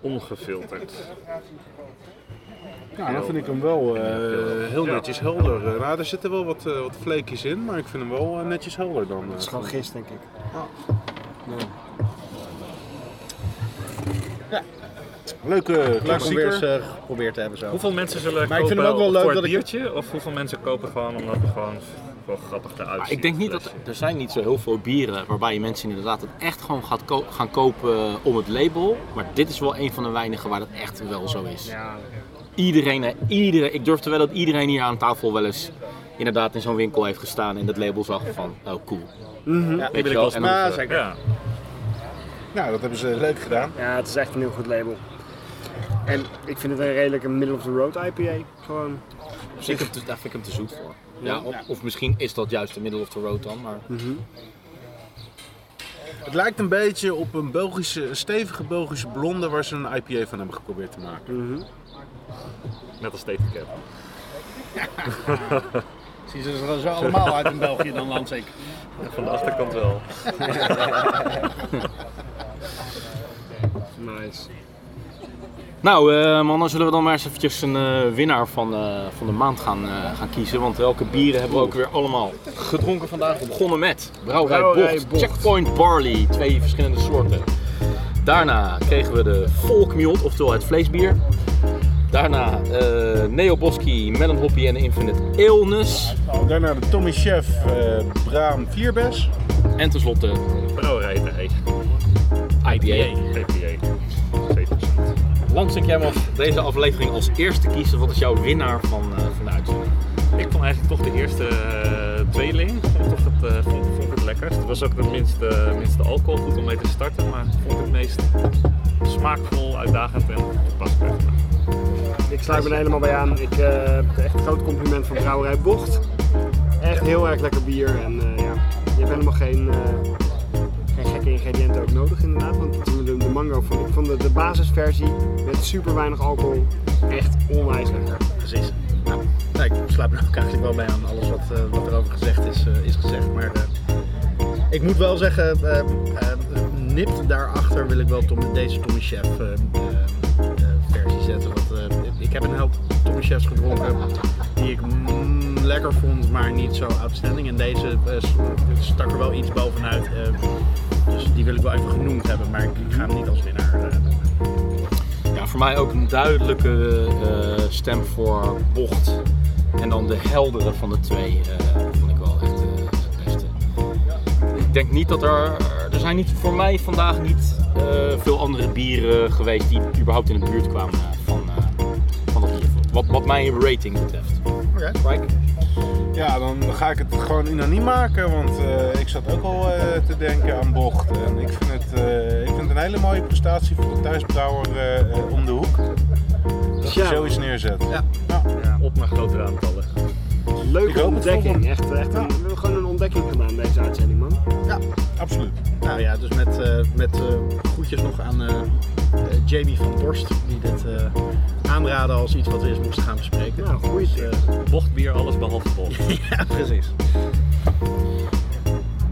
Speaker 3: ongefilterd.
Speaker 2: Ja, Ah, dan vind ik hem wel eh, heel
Speaker 3: Ja.
Speaker 2: netjes helder. Eh, nou, er zitten wel wat, eh, wat vleekjes in, maar ik vind hem wel eh, netjes helder dan. eh.
Speaker 4: Dat is gewoon gist, denk ik.
Speaker 2: Leuke
Speaker 6: Leuk om weer eens
Speaker 2: klassieker.
Speaker 6: eh, geprobeerd te hebben zo.
Speaker 3: Hoeveel mensen zullen
Speaker 6: Maar ik
Speaker 3: kopen
Speaker 6: vind hem ook wel leuk
Speaker 3: voor het
Speaker 6: dat ik-
Speaker 3: biertje? Of hoeveel mensen kopen gewoon omdat het gewoon wel grappig eruit
Speaker 6: Ah,
Speaker 1: Maar
Speaker 3: ziet,
Speaker 1: Ah, ik denk niet dat
Speaker 3: flesje?
Speaker 1: er zijn niet zo heel veel bieren waarbij mensen inderdaad het echt gewoon gaat ko- gaan kopen eh, om het label. Maar dit is wel een van de weinigen waar dat echt wel zo is. Iedereen, eh, iedereen, ik durf te wel dat iedereen hier aan tafel wel eens inderdaad in zo'n winkel heeft gestaan en dat label zag van, oh cool.
Speaker 6: Ja,
Speaker 1: Weet je
Speaker 6: wil
Speaker 1: wel,
Speaker 6: ik
Speaker 1: en dan-
Speaker 6: wel
Speaker 1: eh,
Speaker 6: smaak, zeker.
Speaker 3: Ja,
Speaker 2: Nou, dat hebben ze leuk gedaan.
Speaker 4: Ja, het is echt een heel goed label. En ik vind het een redelijk een middle-of-the-road IPA. Gewoon.
Speaker 1: Ik vind hem te- daar vind ik hem te zoet voor. Ja, of, of misschien is dat juist de middle of the road dan, maar
Speaker 2: Het lijkt een beetje op een Belgische, een stevige Belgische blonde waar ze een IPA van hebben geprobeerd te maken.
Speaker 3: net als Steve Cap.
Speaker 6: Zien ze er zo allemaal uit in België dan land zeker.
Speaker 3: Van de achterkant wel.
Speaker 4: Nice.
Speaker 1: Nou, eh, mannen, zullen we dan maar eens eventjes een eh, winnaar van, eh, van de maand gaan, eh, gaan kiezen. Want welke bieren hebben we ook weer allemaal gedronken vandaag? We begonnen met Brouwerij
Speaker 4: Brouwerij
Speaker 1: Bocht,
Speaker 4: Bocht.
Speaker 1: Checkpoint Barley, twee verschillende soorten. Daarna kregen we de Volkmjold, oftewel het vleesbier. Daarna eh Neo Boski, Melon Hoppy en de Infinite Illness.
Speaker 2: Daarna de Tommy Chef eh Braam Vierbes.
Speaker 1: En tenslotte
Speaker 3: Brouwerij de Eeg.
Speaker 1: IPA.
Speaker 3: PPA. 7%.
Speaker 1: Lansink, jij mag deze aflevering als eerste kiezen. Wat is jouw winnaar van, eh, van de uitzending?
Speaker 3: Ik vond eigenlijk toch de eerste eh, tweeling vond ik toch het, eh, vond, vond ik het lekkerst. Het was ook de minste, minste alcohol, goed om mee te starten, maar vond ik het meest smaakvol, uitdagend en pas perfect.
Speaker 4: Ik sluit me er helemaal bij aan. Ik eh, heb echt een groot compliment van Brouwerij Bocht. Echt heel erg lekker bier. En eh, ja, je hebt helemaal geen, eh, geen gekke ingrediënten ook nodig inderdaad. Want de, de mango van, van de, de basisversie met super weinig alcohol. Echt onwijs lekker.
Speaker 6: Precies. Nou, nee, ik sluit me [laughs] er ook eigenlijk wel mee aan. Alles wat, eh, wat erover gezegd is, eh, is gezegd. Maar eh, ik moet wel zeggen, eh, eh, nipt daarachter wil ik wel Tom, deze Tommy Chef eh, eh, eh, versie zetten. Want eh, ik heb een help Tommy Chefs gedronken die ik mm, lekker vond, maar niet zo outstanding. En deze eh, stak er wel iets bovenuit. eh, dus die wil ik wel even genoemd hebben, maar ik, ik ga hem niet als winnaar eh, noemen.
Speaker 1: Ja, voor mij ook een duidelijke eh, stem voor bocht. En dan de heldere van de twee eh, vond ik wel echt eh, het beste. Ik denk niet dat er... Er zijn niet, voor mij vandaag niet eh, veel andere bieren geweest die überhaupt in de buurt kwamen eh, van, eh, van dat bier. Wat, wat mijn rating betreft.
Speaker 2: Ja, dan ga ik het gewoon unaniem maken, want eh, ik zat ook al eh, te denken aan Bocht. En ik vind het, eh, ik vind het een hele mooie prestatie voor de thuisbrouwer eh, eh, om de hoek. Dat je
Speaker 4: Tja.
Speaker 2: zoiets neerzet.
Speaker 3: Op naar grotere aantallen.
Speaker 4: een leuke
Speaker 2: hoop het voor
Speaker 4: ontdekking. Echt, echt een, we hebben gewoon een ontdekking gedaan deze uitzending, man.
Speaker 2: Absoluut.
Speaker 6: Nou ja, dus met, eh met eh, groetjes nog aan eh, eh, Jamie van Dorst, die dit eh aanraden als iets wat we eens moesten gaan bespreken.
Speaker 4: Ja, Nou, goeie
Speaker 6: eh,
Speaker 4: tip.
Speaker 3: Bochtbier, alles behalve bocht.
Speaker 6: [laughs] ja, precies.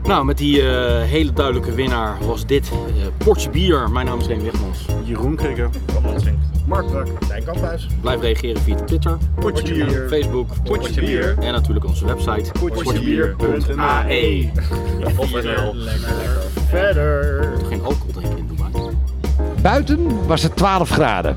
Speaker 1: Nou, met die eh, hele duidelijke winnaar was dit eh Portje Bier. Mijn naam is Reen Wichmans.
Speaker 2: Jeroen Krikker.
Speaker 4: Mark Brak.
Speaker 6: Stijn Kamphuis.
Speaker 1: Blijf reageren via Twitter,
Speaker 2: Potje bier.
Speaker 1: Facebook
Speaker 2: Potje bier.
Speaker 1: en natuurlijk onze website
Speaker 2: Potjebier.nl.
Speaker 1: potjebier.ae.
Speaker 3: Of NL.
Speaker 6: Lekker, lekker.
Speaker 4: Verder.
Speaker 1: Geen alcohol drinken in Dubai.
Speaker 9: Buiten was het 12 graden.